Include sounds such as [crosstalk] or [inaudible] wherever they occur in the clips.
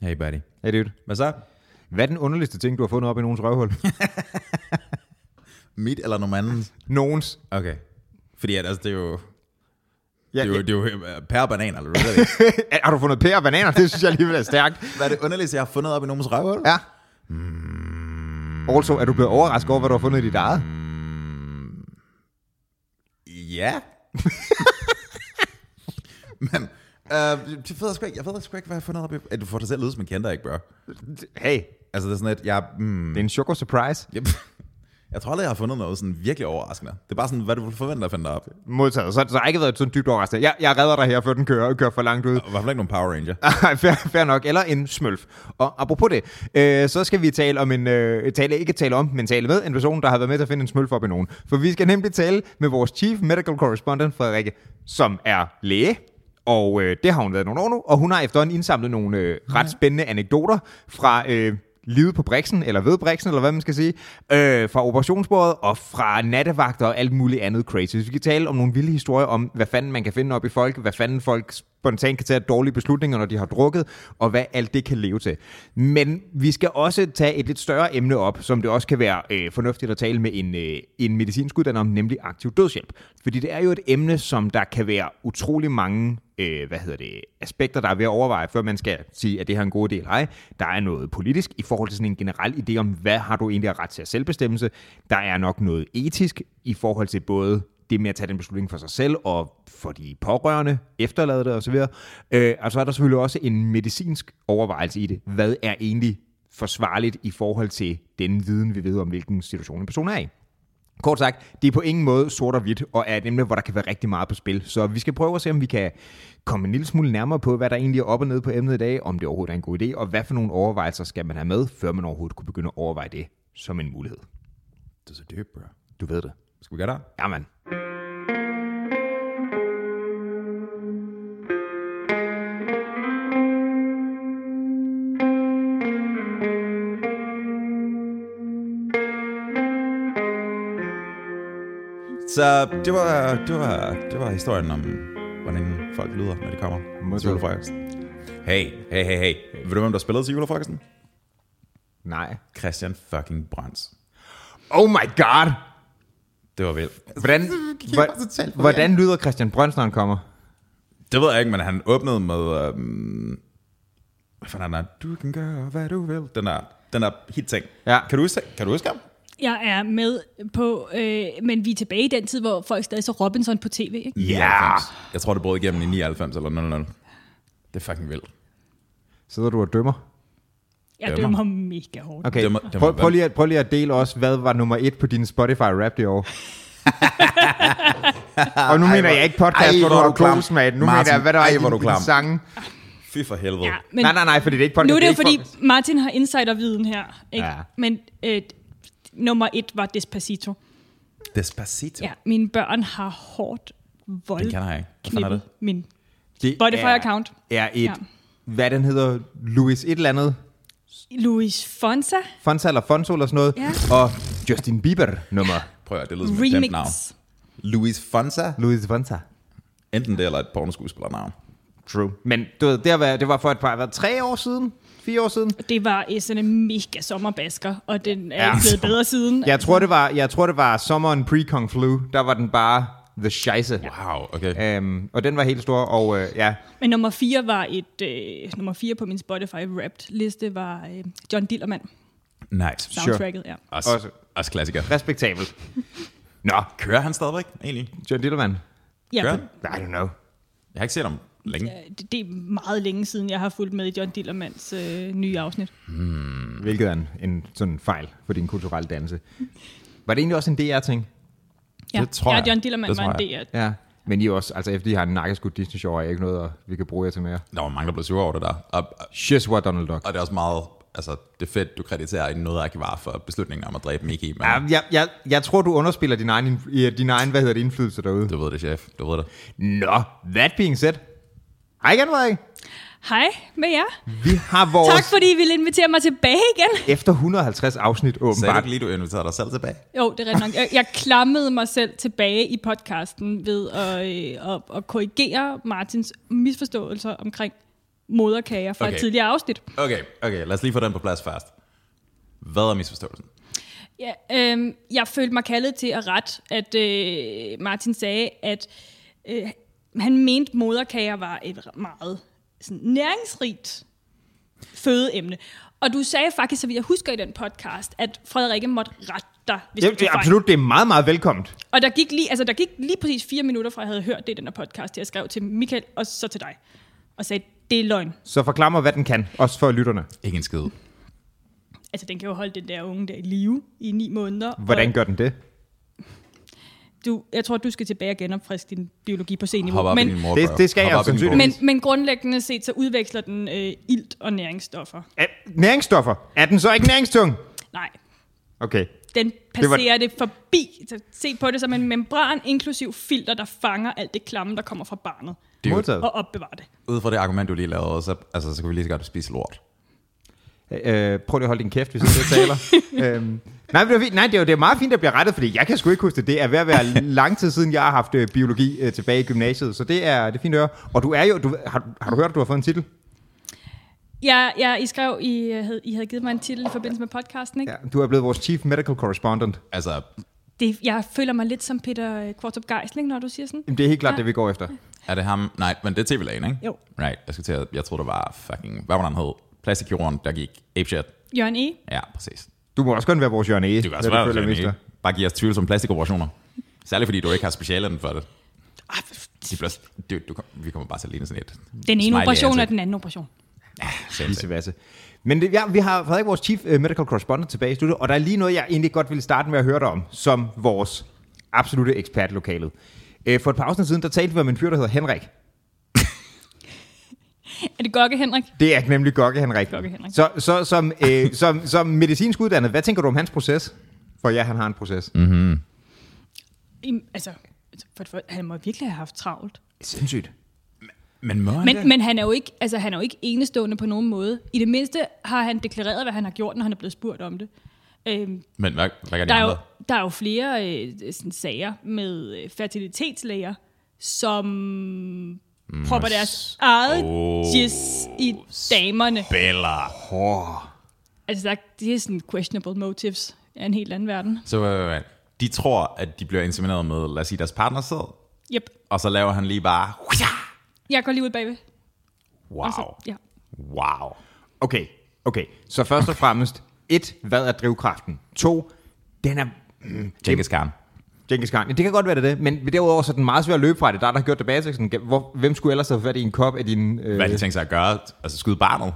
Hey buddy. Hey dude. Hvad så? Hvad er den underligste ting, du har fundet op i nogens røvhul? [laughs] Mit eller nogen andens? nogens. [laughs] Okay. Fordi at, altså, det er jo... Ja, Det er jo, ja. det er jo øh, pære og bananer, eller hvad det er. har du fundet pære og bananer? Det synes jeg alligevel er stærkt. [laughs] Hvad er det underligste, jeg har fundet op i nogens røvhul? Ja. Also, er du blevet overrasket over, hvad du har fundet i dit eget? Ja. [laughs] Men, øh, jeg, ved sgu ikke, jeg ved sgu ikke, hvad jeg har fundet op i... Øh, Du får dig selv ud, som en kender, ikke, bro? Hey, Altså, det er sådan, at jeg... Mm, det er en choco surprise. jeg, [laughs] jeg tror aldrig, jeg har fundet noget sådan virkelig overraskende. Det er bare sådan, hvad du forventer at finde op. Modtaget. Så, så har jeg ikke været sådan dybt overrasket. Jeg, jeg redder dig her, før den kører, kører for langt ud. I hvert fald ikke nogen Power Ranger. Ej, fair, fair nok. Eller en smølf. Og apropos det, øh, så skal vi tale om en... Øh, tale, ikke tale om, men tale med en person, der har været med til at finde en smølf op i nogen. For vi skal nemlig tale med vores chief medical correspondent, Frederikke, som er læge. Og øh, det har hun været nogle år nu. Og hun har efterhånden indsamlet nogle øh, ret spændende anekdoter fra... Øh, livet på Brixen, eller ved Brixen, eller hvad man skal sige, øh, fra operationsbordet og fra nattevagter og alt muligt andet crazy. Så vi kan tale om nogle vilde historier om, hvad fanden man kan finde op i folk, hvad fanden folk spontant kan tage dårlige beslutninger, når de har drukket, og hvad alt det kan leve til. Men vi skal også tage et lidt større emne op, som det også kan være øh, fornuftigt at tale med en, øh, en medicinsk uddanner om, nemlig aktiv dødshjælp. Fordi det er jo et emne, som der kan være utrolig mange øh, hvad hedder det, aspekter, der er ved at overveje, før man skal sige, at det her er en god idé eller ej. Der er noget politisk i forhold til sådan en generel idé om, hvad har du egentlig af ret til af selvbestemmelse. Der er nok noget etisk i forhold til både det med at tage den beslutning for sig selv og for de pårørende, efterladte osv. Øh, og så er der selvfølgelig også en medicinsk overvejelse i det. Hvad er egentlig forsvarligt i forhold til den viden, vi ved om, hvilken situation en person er i? Kort sagt, det er på ingen måde sort og hvidt, og er et emne, hvor der kan være rigtig meget på spil. Så vi skal prøve at se, om vi kan komme en lille smule nærmere på, hvad der egentlig er op og ned på emnet i dag, om det overhovedet er en god idé, og hvad for nogle overvejelser skal man have med, før man overhovedet kunne begynde at overveje det som en mulighed. Det er så dybt, bro. Du ved det. Skal vi gøre det? Jamen. Så det var, det var, det var historien om, hvordan folk lyder, når de kommer til Modtaget. julefrokosten. Hey, hey, hey, hey. Ved du, hvem der spillede til julefrokosten? Nej. Christian fucking Brands. Oh my god! Det var vildt. Hvordan, kigger bare totalt hvordan, på hvordan lyder Christian Brøns, når han kommer? Det ved jeg ikke, men han åbnede med... Øhm, hvad fanden er den der? Du kan gøre, hvad du vil. Den der, den der hit ting. Ja. Kan du huske, kan du huske ham? Jeg er med på, øh, men vi er tilbage i den tid, hvor folk stadig så Robinson på tv, ikke? I Ja. 99. Jeg tror, det brød igennem i 99 eller 00. Det er fucking vildt. Sidder du og dømmer? Jeg Dømmer. dømmer mega hårdt. Okay, Dømmer- dømmer prøv, hvad? prøv, lige at, prøv lige at dele også, hvad var nummer et på din Spotify-rap i [laughs] år? og nu mener jeg ikke podcast, Ej, ej, hvor du hvor er har du klam. klam, mate. Nu Martin, mener jeg, hvad der ej, er i hvor er du din, klam. din sange. Fy for helvede. Ja, Ja. men nej, nej, nej, fordi det er ikke podcast. nu er det jo, ikke fordi podcast. Martin har insiderviden her, ikke? Ja. Ja. Men øh, nummer et var Despacito. Despacito. Ja, mine børn har hårdt vold. Den kender jeg ikke. Hvad fanden er det? Min Det Spotify-account. Er et, ja. Ja. hvad den hedder, Louis et eller andet, Luis Fonsa Fonsa eller Fonso eller sådan noget, Ja. og Justin Bieber nummer, Prøv at høre, det lyder som et Remix. kendt navn. Luis Fonsa. Louis Fonsa. Enten det eller et pornoskuespillernavn. True. Men du ved, det, var, det var for et par, hvad, tre år siden? Fire år siden? Det var øh, sådan en mega sommerbasker, og den er Ja. ja. blevet bedre siden. Jeg tror, det var, jeg tror, det var sommeren pre-Kong Flu, der var den bare the scheisse. Wow, okay. Ja. Øhm, og den var helt stor, og øh, ja, Men nummer 4 var et øh, nummer 4 på min Spotify Wrapped liste var øh, John Dillermand Nice. soundtracket, sure. ja. Også, Også- også. også klassiker. respektabel. Nå, Kører han stadigvæk, egentlig? John Dillermand. ja Kører han? men, I don't know. Jeg har ikke set ham længe. øh, det, det er meget længe siden jeg har fulgt med i John Dillermands øh, nye afsnit. Hvilket er en, en sådan fejl for din kulturelle danse. Var det egentlig også en DR-ting? Ja, Det tror ja jeg. John Dillermand Det var tror en jeg. DR. Ja. Men I er også, altså efter I har en nakkeskudt Disney-show, er I ikke noget, og vi kan bruge jer til mere. Der var mange, der blev sure over det der. Og, og, Just what Donald Duck. og det er også meget... Altså, det er fedt, du krediterer noget arkivar for beslutningen om at dræbe Mickey, men Ja, jeg, jeg, jeg tror, du underspiller din egen, inf- ja, din egen hvad hedder det, indflydelse derude. du ved det, chef. Du ved det. Nå, that being said. Hej igen, Frederik. Hej med jer. Vi har vores Tak fordi I ville invitere mig tilbage igen. efter 150 afsnit Sagde du åbenbart. ikke lige, du inviterede dig selv tilbage? Jo, det er rigtigt nok. Jeg, jeg klammede mig selv tilbage i podcasten ved at, øh, at, at korrigere Martins misforståelser omkring moderkager fra okay. Okay. et tidligere afsnit. Okay, okay, lad os lige få den på plads først. Hvad er misforståelsen? Ja, øhm, jeg følte mig kaldet til at ret, at øh, Martin sagde, at øh, han mente, moderkager var et r- meget sådan, næringsrigt fødeemne. Og du sagde faktisk, så vidt jeg husker i den podcast, at Frederikke måtte rette dig, hvis Ja, du det tog er fejl. absolut, det er meget, meget velkomt. Og der gik, lige, altså, der gik lige præcis fire minutter, fra jeg havde hørt det i den her podcast, til jeg skrev til Michael, og så til dig, og sagde, det er løgn. Så forklar mig, hvad den kan, også for lytterne. Ikke en skid. Altså, den kan jo holde den der unge der i live i ni måneder. Hvordan og gør den det? du, Jeg tror, du skal tilbage og genopfriske din biologi på Hop C-niveau. op men, i Men, din mor, Det- bro. det skal Hop jeg op i din sandsynligvis. mor. men, men grundlæggende set, så udveksler den øh, ilt og næringsstoffer. Er, næringsstoffer. Er den så ikke næringstung? Nej, Okay. den var- passerer det, var... det forbi. Så se på det som en membran, inklusiv filter, der fanger alt det klamme, der kommer fra barnet, Dude. Modtaget. og opbevarer det. Ud fra det argument, du lige lavede, så, altså, så kan vi lige så godt spise lort. Øh, prøv lige at holde din kæft, hvis jeg taler. [laughs] øhm, nej, men det er, fint. nej, det er jo det er meget fint, der bliver rettet, fordi jeg kan sgu ikke huske det. Det er ved at være lang tid siden, jeg har haft øh, biologi øh, tilbage i gymnasiet, så det er, det er fint at høre. Og du er jo, du, har, har du hørt, at du har fået en titel? Jeg, jeg, I skrev, I øh, havde, I havde givet mig en titel i forbindelse med podcasten, ikke? Ja, du er blevet vores chief medical correspondent. Altså, Det, jeg føler mig lidt som Peter øh, Kvartrup Geisling, når du siger sådan. Jamen, det er helt klart Ja. det, vi går efter. er det ham? Nej, men det er tv-lægen, ikke? Jo. Right, jeg skal til at, jeg tror, der var fucking, hvad var det, han hed? Plastikjorden, der gik apeshit. Jørgen E. Ja, præcis. Du må også godt være vores Jørgen Ege. Du kan også hvad være føler, det, mister. ikke? Bare give os tvivl som plastikoperationer. Særligt fordi du ikke har specialen for det. Ah, De bliver, du, du, kom- vi kommer bare til at ligne sådan et Den ene smiley operation altså. er ansigt. den anden operation. Same Pisse thing. vasse. Men det, ja, vi har Frederik, vores chief uh, medical correspondent, tilbage i studiet, og der er lige noget, jeg egentlig godt ville starte med at høre dig om, som vores absolute ekspert i lokalet. Uh, for et par afsnit siden, der talte vi om en fyr, der hedder Henrik. Er det Gokke, Henrik? Det er nemlig Gokke Henrik. Gokke Henrik. Så, så som, øh, som, som medicinsk uddannet, hvad tænker du om hans proces? For ja, han har en proces. Mm. I, altså, for, for, han må virkelig have haft travlt. Sindssygt. Men må han det? Men, men han, er jo ikke, altså, han er jo ikke enestående på nogen måde. I det mindste har han deklareret, hvad han har gjort, når han er blevet spurgt om det. Øhm, Men hvad, hvad gør de der, er jo, andre? der er jo flere øh, sådan, sager med øh, fertilitetslæger, som mm, propper deres eget Oh, jizz i damerne. Bella. Altså, der, det er sådan questionable motives af en helt anden verden. Så øh, de tror, at de bliver insemineret med, lad os sige, deres partner sæd, Yep. og så laver han lige bare... Jeg går lige ud bagved. Wow. Og Så, ja. Wow. Okay, okay. Så først og fremmest, et, hvad er drivkraften? To, den er... Mm, Genghis Khan. Genghis Khan. Ja, det kan godt være det, er det, men derudover så er den meget svær at løbe fra det. Der er der har gjort det bag sådan, hvor, Hvem skulle ellers have fået fat i en kop af din... Øh, Hvad har de tænkt sig at gøre? Altså skyde barnet?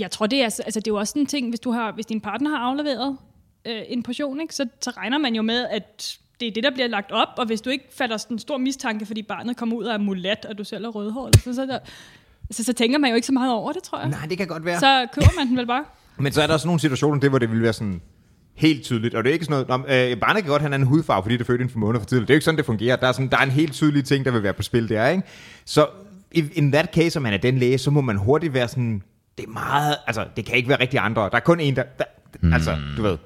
Jeg tror, det er, altså, det er jo også en ting, hvis, du har, hvis din partner har afleveret øh, en portion, ikke, så, så regner man jo med, at det er det, der bliver lagt op, og hvis du ikke fatter sådan en stor mistanke, fordi barnet kommer ud og er mulat, og du selv er rødhåret, så, så, der, så, så tænker man jo ikke så meget over det, tror jeg. Nej, det kan godt være. Så køber man den vel bare. Men så er der også nogle situationer, det, hvor det ville være sådan helt tydeligt. Og det er ikke sådan noget, om, øh, barnet kan godt have en anden hudfarve, fordi det fødte en for måneder for tidligt. Det er jo ikke sådan, det fungerer. Der er, sådan, der er en helt tydelig ting, der vil være på spil der, ikke? Så i- in that case, om man er den læge, så må man hurtigt være sådan, det er meget, altså det kan ikke være rigtig andre. Der er kun en, der, der hmm. altså du ved.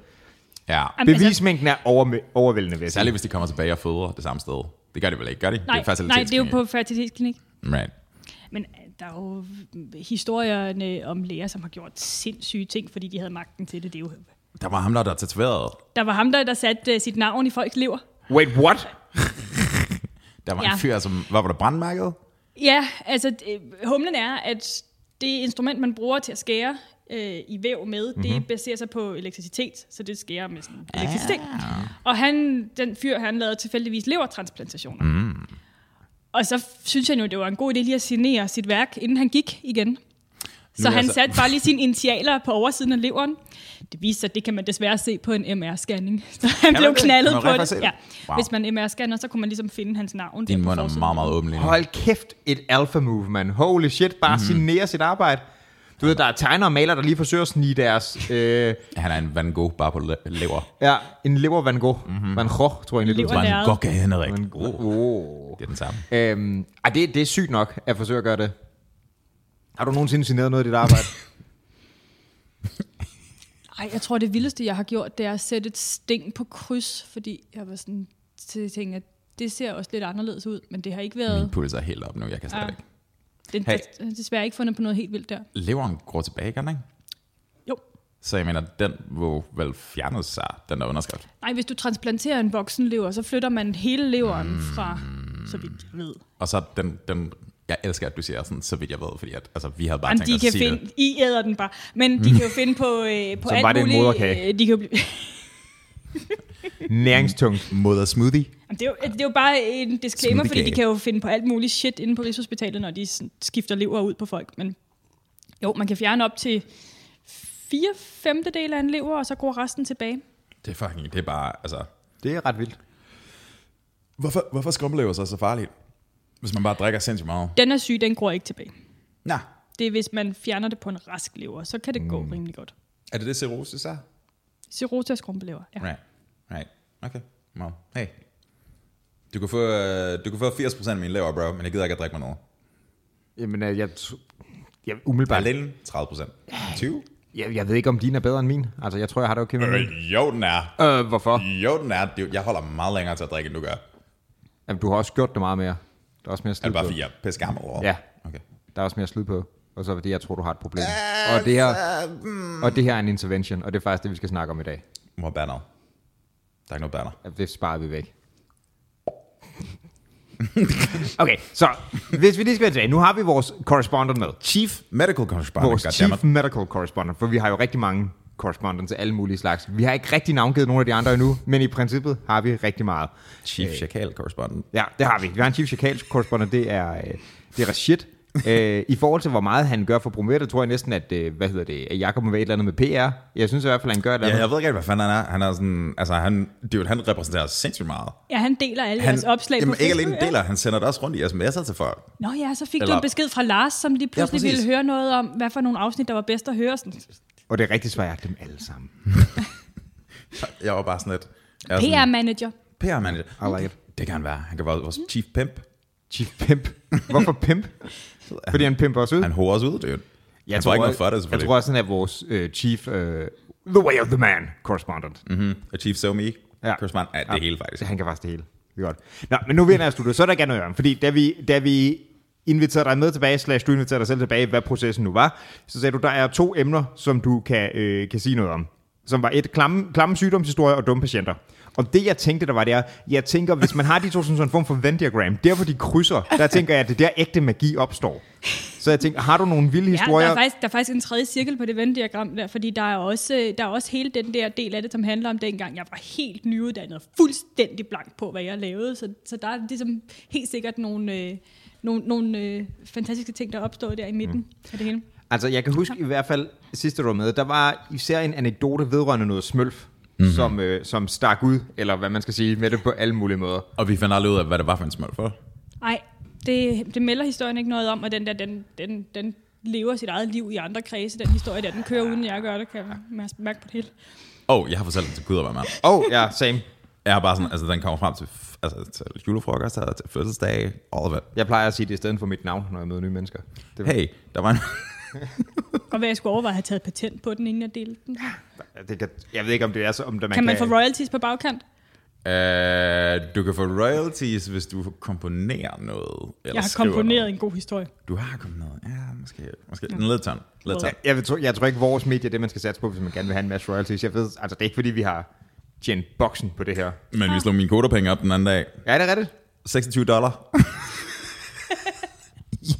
Ja. Jamen, altså, Bevismængden er over, overvældende, vil jeg Særligt, sige. hvis de kommer tilbage og føder det samme sted. Det gør de vel ikke, gør de? nej, det er nej, det er jo på fertilitetsklinik. fertilitetsklinik. Right. Men øh, der er jo historierne om læger, som har gjort sindssyge ting, fordi de havde magten til det. det er jo, Der var ham, der er tatoveret. der var ham, der, der satte øh, sit navn i folks lever. Wait, what? Der var Ja. en fyr, som... Hvad var det? Brandmærket? Ja, altså det- humlen er, at det instrument, man bruger til at skære øh, i væv med, mm-hmm. Mhm. det baserer sig på elektricitet, så det skærer med sådan Ah. elektricitet. Og han, den fyr, han lavede tilfældigvis levertransplantationer. Mm. Og så f- synes han jo, det var en god idé lige at signere sit værk, inden han gik igen. Så Nu er altså han jeg så- satte bare [laughs] lige sine initialer på oversiden af leveren. Det viste sig, at det kan man desværre se på en MR-scanning. [laughs] Så han man blev det? knaldet Kan man på rent faktisk det. se det? Ja. Wow. Hvis man MR-scanner, så kunne man ligesom finde hans navn. der Din på mund er forsiden. meget, meget åben lige nu. Hold kæft, et alpha move, man. Holy shit, bare mm-hmm. signere sit arbejde. Du ved, der er tegnere og malere, der lige forsøger at snige deres... Øh, Han er en Van Gogh, bare på le- lever. Ja, en lever Van Gogh. Mm-hmm. Van Gogh, tror jeg egentlig, du Lever. sagde. Van lærer. Gogh er Henrik. Gogh. Oh, Oh. det er den samme. Øhm, ej, det, det er sygt nok at forsøge at gøre det. Har du nogensinde signeret noget af dit arbejde? Ej, jeg tror, det vildeste, jeg har gjort, det er at sætte et sting på kryds, fordi jeg var sådan til at tænke, at det ser også lidt anderledes ud, men det har ikke været... Min puls er helt op nu, jeg kan slet Ja. ikke. Den Hey. er desværre ikke fundet på noget helt vildt der. Leveren går tilbage igen, ikke? Jo. Så jeg mener, den må vel fjernes sig, den der underskrift. Nej, hvis du transplanterer en voksen lever, så flytter man hele leveren Mm. fra, så vidt jeg ved. Og så den, den jeg elsker, at du siger sådan, så vidt jeg ved, fordi at, altså, vi havde bare Jamen, tænkt de os kan at sige finde, det. I æder den bare. Men [laughs] de kan jo finde på, øh, på Så alt var det en muligt. moderkage. øh, de kan jo blive, Næringstungt. Moder smoothie. Jamen, det, er jo, det er jo bare en disclaimer, fordi de Smittekage. kan jo finde på alt muligt shit inde på Rigshospitalet, når de sådan skifter lever ud på folk. Men jo, man kan fjerne op til fire femtedele af en lever, og så går resten tilbage. Det er fucking, det er bare, altså... Det er ret vildt. Hvorfor, hvorfor skumlever så så farligt? Hvis man bare drikker sindssygt meget. Den er syg, den går ikke tilbage. Nej. Det er, hvis man fjerner det på en rask lever, så kan det mm. gå rimelig godt. Er det det cirrhosis er? Cirrhosis af skrumpelever, ja. Right. Right. Okay. Wow. Hey. Du kan få, øh, du kan få 80% af min lever, bro, men jeg gider ikke at drikke mig noget. Jamen, øh, jeg, tr- jeg, umiddelbart, Berlin, 30%. 20? jeg, jeg ved ikke, om din er bedre end min. Altså, jeg tror, jeg har det okay med min. Øh, jo, den er. Øh, hvorfor? Jo, den er. Det- Jeg holder meget længere til at drikke, end du gør. Jamen, du har også gjort det meget mere. Der er også mere Er slid det bare på. fordi, jeg er pisse gammel over? Ja. Okay. Der er også mere slid på. Og så er det, jeg tror, du har et problem. Og det, her, og det her er en intervention, og det er faktisk det, vi skal snakke om i dag. Mor banner. Der er ikke noget banner. At Det sparer vi væk. okay, så hvis vi lige skal være tilbage. Nu har vi vores correspondent med. Chief Medical Correspondent. Vores chief medical correspondent, for vi har jo rigtig mange correspondents af alle mulige slags. Vi har ikke rigtig navngivet nogen af de andre endnu, men i princippet har vi rigtig meget. Chief Chakal Correspondent. Ja, det har vi. Vi har en chief chakal correspondent, det er, øh, det [laughs] er Rashid. øh, I forhold til, hvor meget han gør for Promoter, tror jeg næsten, at, øh, hvad hedder det, at Jacob må være et eller andet med PR. Jeg synes i hvert fald, han gør et eller Ja, andet. jeg ved ikke, hvad fanden han er. Han er sådan, altså han, dude, han repræsenterer sindssygt meget. Ja, han deler alle Han, jeres opslag jamen, ikke på Facebook. alene ja. deler, han sender det også rundt i sms'er til folk. Nå ja, så fik Eller... du Eller- en besked fra Lars, som lige pludselig ja, præcis. ville høre noget om, hvad for nogle afsnit, der var bedst at høre. Sådan, Og det er rigtigt svar, jeg har dem alle sammen. Jeg var bare sådan lidt... jeg er sådan- PR-manager. PR manager. I like it. Det kan han være. Han kan være vores chief pimp. Chief Pimp. Hvorfor [laughs] Pimp? Fordi han pimper os ud. Han hover os ud, dude. Jeg han får ikke noget også- for det, Jeg selvfølgelig. tror også, han er vores øh, chief, øh, the way of the man correspondent. Mm. mm-hmm. Og chief so me. Ja. Ja. Correspondent. Ja, det Ja. ja. hele faktisk. Så han kan faktisk det hele. Det er godt. Nå, men nu er vi inde af studiet, så er der gerne noget, Jørgen, fordi da vi, da vi inviterede dig med tilbage, slash du inviterede dig selv tilbage, hvad processen nu var, så sagde du, der er to emner, som du kan, øh, kan sige noget om som var et klamme, klamme sygdomshistorie og dumme patienter. Og det, jeg tænkte, der var, det er, jeg tænker, hvis man har de to som sådan en form for Venn diagram, der hvor de krydser, der tænker jeg, at det er der ægte magi opstår. Så jeg tænkte, har du nogle vilde Ja, der historier? er, faktisk, der er faktisk en tredje cirkel på det Venn-diagram der, fordi der er, også, øh, der er også hele den der del af det, som handler om dengang, jeg var helt nyuddannet og fuldstændig blank på, hvad jeg lavede. Så, så der er ligesom helt sikkert nogle, øh, nogle, nogle øh, fantastiske ting, der er opstået der i midten mm. af det hele. Altså, jeg kan huske i hvert fald sidste du var med, der var især en anekdote vedrørende noget smølf, mm-hmm. som, øh, som stak ud, eller hvad man skal sige, med det på alle mulige måder. Og vi fandt aldrig ud af, hvad det var for en smøl for. Nej, det, det melder historien ikke noget om, og den der, den, den, den lever sit eget liv i andre kredse, den historie der, den kører uden jeg gør det, kan jeg mær- mærke på det hele. Åh, oh, jeg har fortalt den til Gud, hvad man. Oh, ja, same. Jeg er bare sådan, altså den kommer frem til, f- altså, til julefrokost, og til fødselsdag, all of it. Jeg plejer at sige det i stedet for mit navn, når jeg møder nye mennesker. Det, Hey, der var en... Og hvad jeg skulle overveje at have taget patent på den, inden jeg delte den. det kan, jeg ved ikke, om det er så... Om det, man Kan man få royalties på bagkant? uh, du kan få royalties, hvis du komponerer noget. Eller Jeg har skriver komponeret Noget. en god historie. Du har komponeret. Ja, måske. måske. Ja. Lidt ton. Lidt ton. Jeg, jeg, vil tro, jeg tror ikke, vores medie er det, man skal satse på, hvis man gerne vil have en masse royalties. Jeg ved, altså, det er ikke, fordi vi har tjent boksen på det her. Men vi slog mine koderpenge op den anden dag. Ja, er det rigtigt? 26 [laughs] dollar.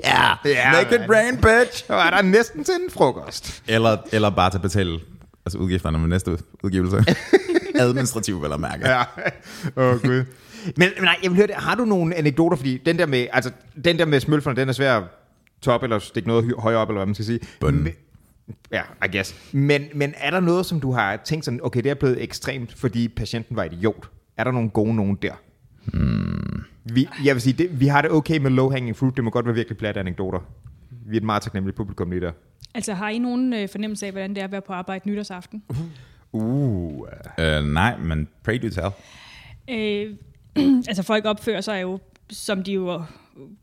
yeah, Ja, make it man. rain, bitch. Så er der næsten til en frokost. Eller, eller bare til at betale altså udgifterne med næste [laughs] udgivelse. Administrativ, vel at mærke. Ja. Åh, oh, gud. [laughs] men, men nej, jeg vil høre det. Har du nogle anekdoter? Fordi den der med, altså, den der med smølferne, den er svær at top eller stikke noget hø- højere op, eller hvad man skal sige. Bunden. Men- Ja, I guess. Men, men er der noget, som du har tænkt sådan, okay, det er blevet ekstremt, fordi patienten var idiot. Er der nogle gode nogen der? Hmm. Vi, jeg vil sige, det, vi har det okay med low-hanging fruit. Det må godt være virkelig platte anekdoter. Vi er et meget taknemmeligt publikum lige der. Altså, har I nogen øh, fornemmelse af, hvordan det er at være på arbejde nytårsaften? Uh. Øh, nej, men pray do tell. Øh, [clears throat] altså, folk opfører sig jo, som de jo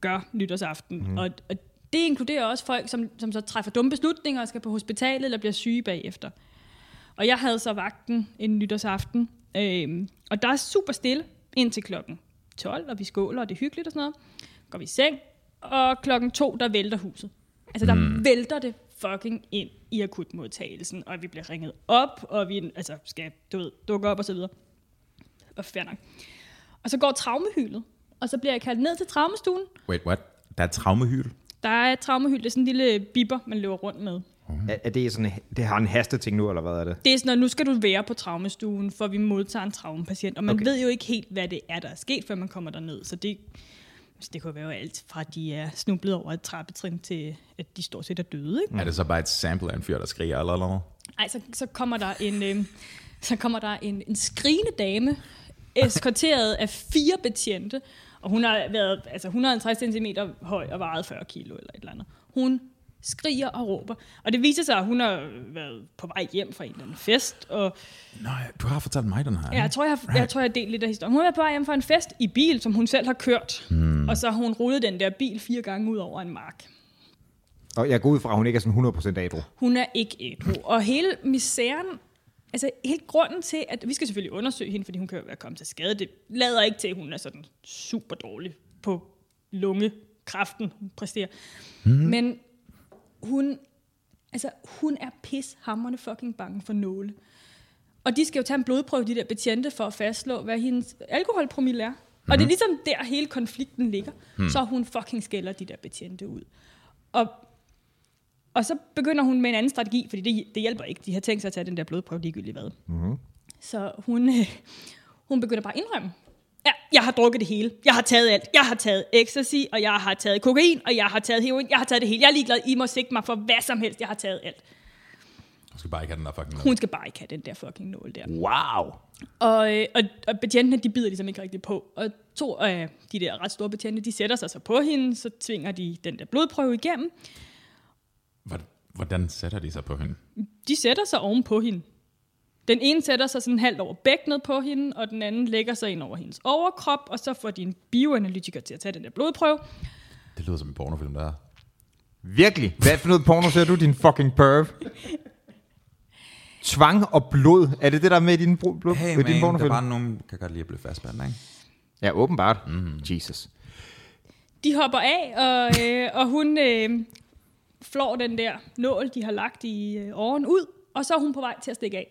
gør nytårsaften. Mm. Og, og det inkluderer også folk, som, som så træffer dumme beslutninger og skal på hospitalet eller bliver syge bagefter. Og jeg havde så vagten en nytårsaften. Øh, og der er super stille indtil klokken 12, og vi skåler, og det er hyggeligt og sådan noget. Går vi i seng, og klokken to, der vælter huset. Altså, der mm. vælter det fucking ind i akutmodtagelsen, og vi bliver ringet op, og vi altså, skal du ved, dukke op og så videre. Og fair nok. Og så går traumehylet, og så bliver jeg kaldt ned til traumestuen. Wait, what? Der er traumehyl. Der er et traumehyl, det er sådan en lille biber, man løber rundt med. Er, er det, sådan, det har en hasteting nu, eller hvad er det? Det er sådan, at nu skal du være på traumestuen, for vi modtager en traumepatient. Og man Okay. okay. ved jo ikke helt, hvad det er, der er sket, før man kommer derned. Så det, altså, det kunne være alt fra, at de er snublet over et trappetrin, til at de stort set er døde. Ikke? Mm. Er det så bare et sample af en fyr, der skriger eller eller noget? Ej, så, så kommer der en, øh, så kommer der en, en skrigende dame, eskorteret af fire betjente, og hun har været altså 150 cm høj og vejet 40 kilo eller et eller andet. Hun skriger og råber. Og det viser sig, at hun har været på vej hjem fra en eller anden fest, og Nej, du har fortalt mig den her. Ja, jeg tror, jeg, har, jeg tror, jeg har delt lidt af historien. Hun var på vej hjem fra en fest i bil, som hun selv har kørt. Mm. Og så har hun rullet den der bil fire gange ud over en mark. Og jeg går ud fra, at hun ikke er sådan 100% ædru. Hun er ikke ædru. Og hele misæren, altså hele grunden til, at vi skal selvfølgelig undersøge hende, fordi hun kan jo være kommet til skade, det lader ikke til, at hun er sådan super dårlig på lungekræften, hun præsterer. Mm. Men hun, altså, hun er pishammerende fucking bange for nåle. Og de skal jo tage en blodprøve, de der betjente, for at fastslå, hvad hendes alkoholpromille er. Mm. Og det er ligesom der, hele konflikten ligger. Mm. Så hun fucking skælder de der betjente ud. Og og så begynder hun med en anden strategi, fordi det, det hjælper ikke. De har tænkt sig at tage den der blodprøve ligegyldigt hvad. Mm-hmm. Så hun, øh, hun begynder bare at indrømme. Ja, jeg har drukket det hele. Jeg har taget alt. Jeg har taget ecstasy, og jeg har taget kokain, og jeg har taget heroin. Jeg har taget det hele. Jeg er ligeglad. I må sigte mig for hvad som helst. Jeg har taget alt. Du skal bare ikke have den der fucking Hun skal bare ikke have den der fucking nål der. Wow! Og, øh, og, og betjentene, de bider ligesom ikke rigtig på. Og to af de der ret store betjente, de sætter sig så på hende, så tvinger de den der blodprøve igennem. Hvor- Hvordan sætter de sig på hende? de sætter sig oven på hende. Den ene sætter sig sådan halvt over bækkenet på hende, og den anden lægger sig ind over hendes overkrop, og så får de en bioanalytiker til at tage den der blodprøve. Det lyder som en pornofilm, der er. Virkelig? Hvad for noget porno ser du, din fucking perv? Tvang og blod. Er det det, der er med i din, bro- blod, i din pornofilm? nogen, der kan godt lide at blive fastspændt, ikke? Mhm. Ja, åbenbart. Mm. Jesus. De hopper af, og, øh, og hun øh, flår den der nål, de har lagt i øh, åren ud, og så er hun på vej til at stikke af.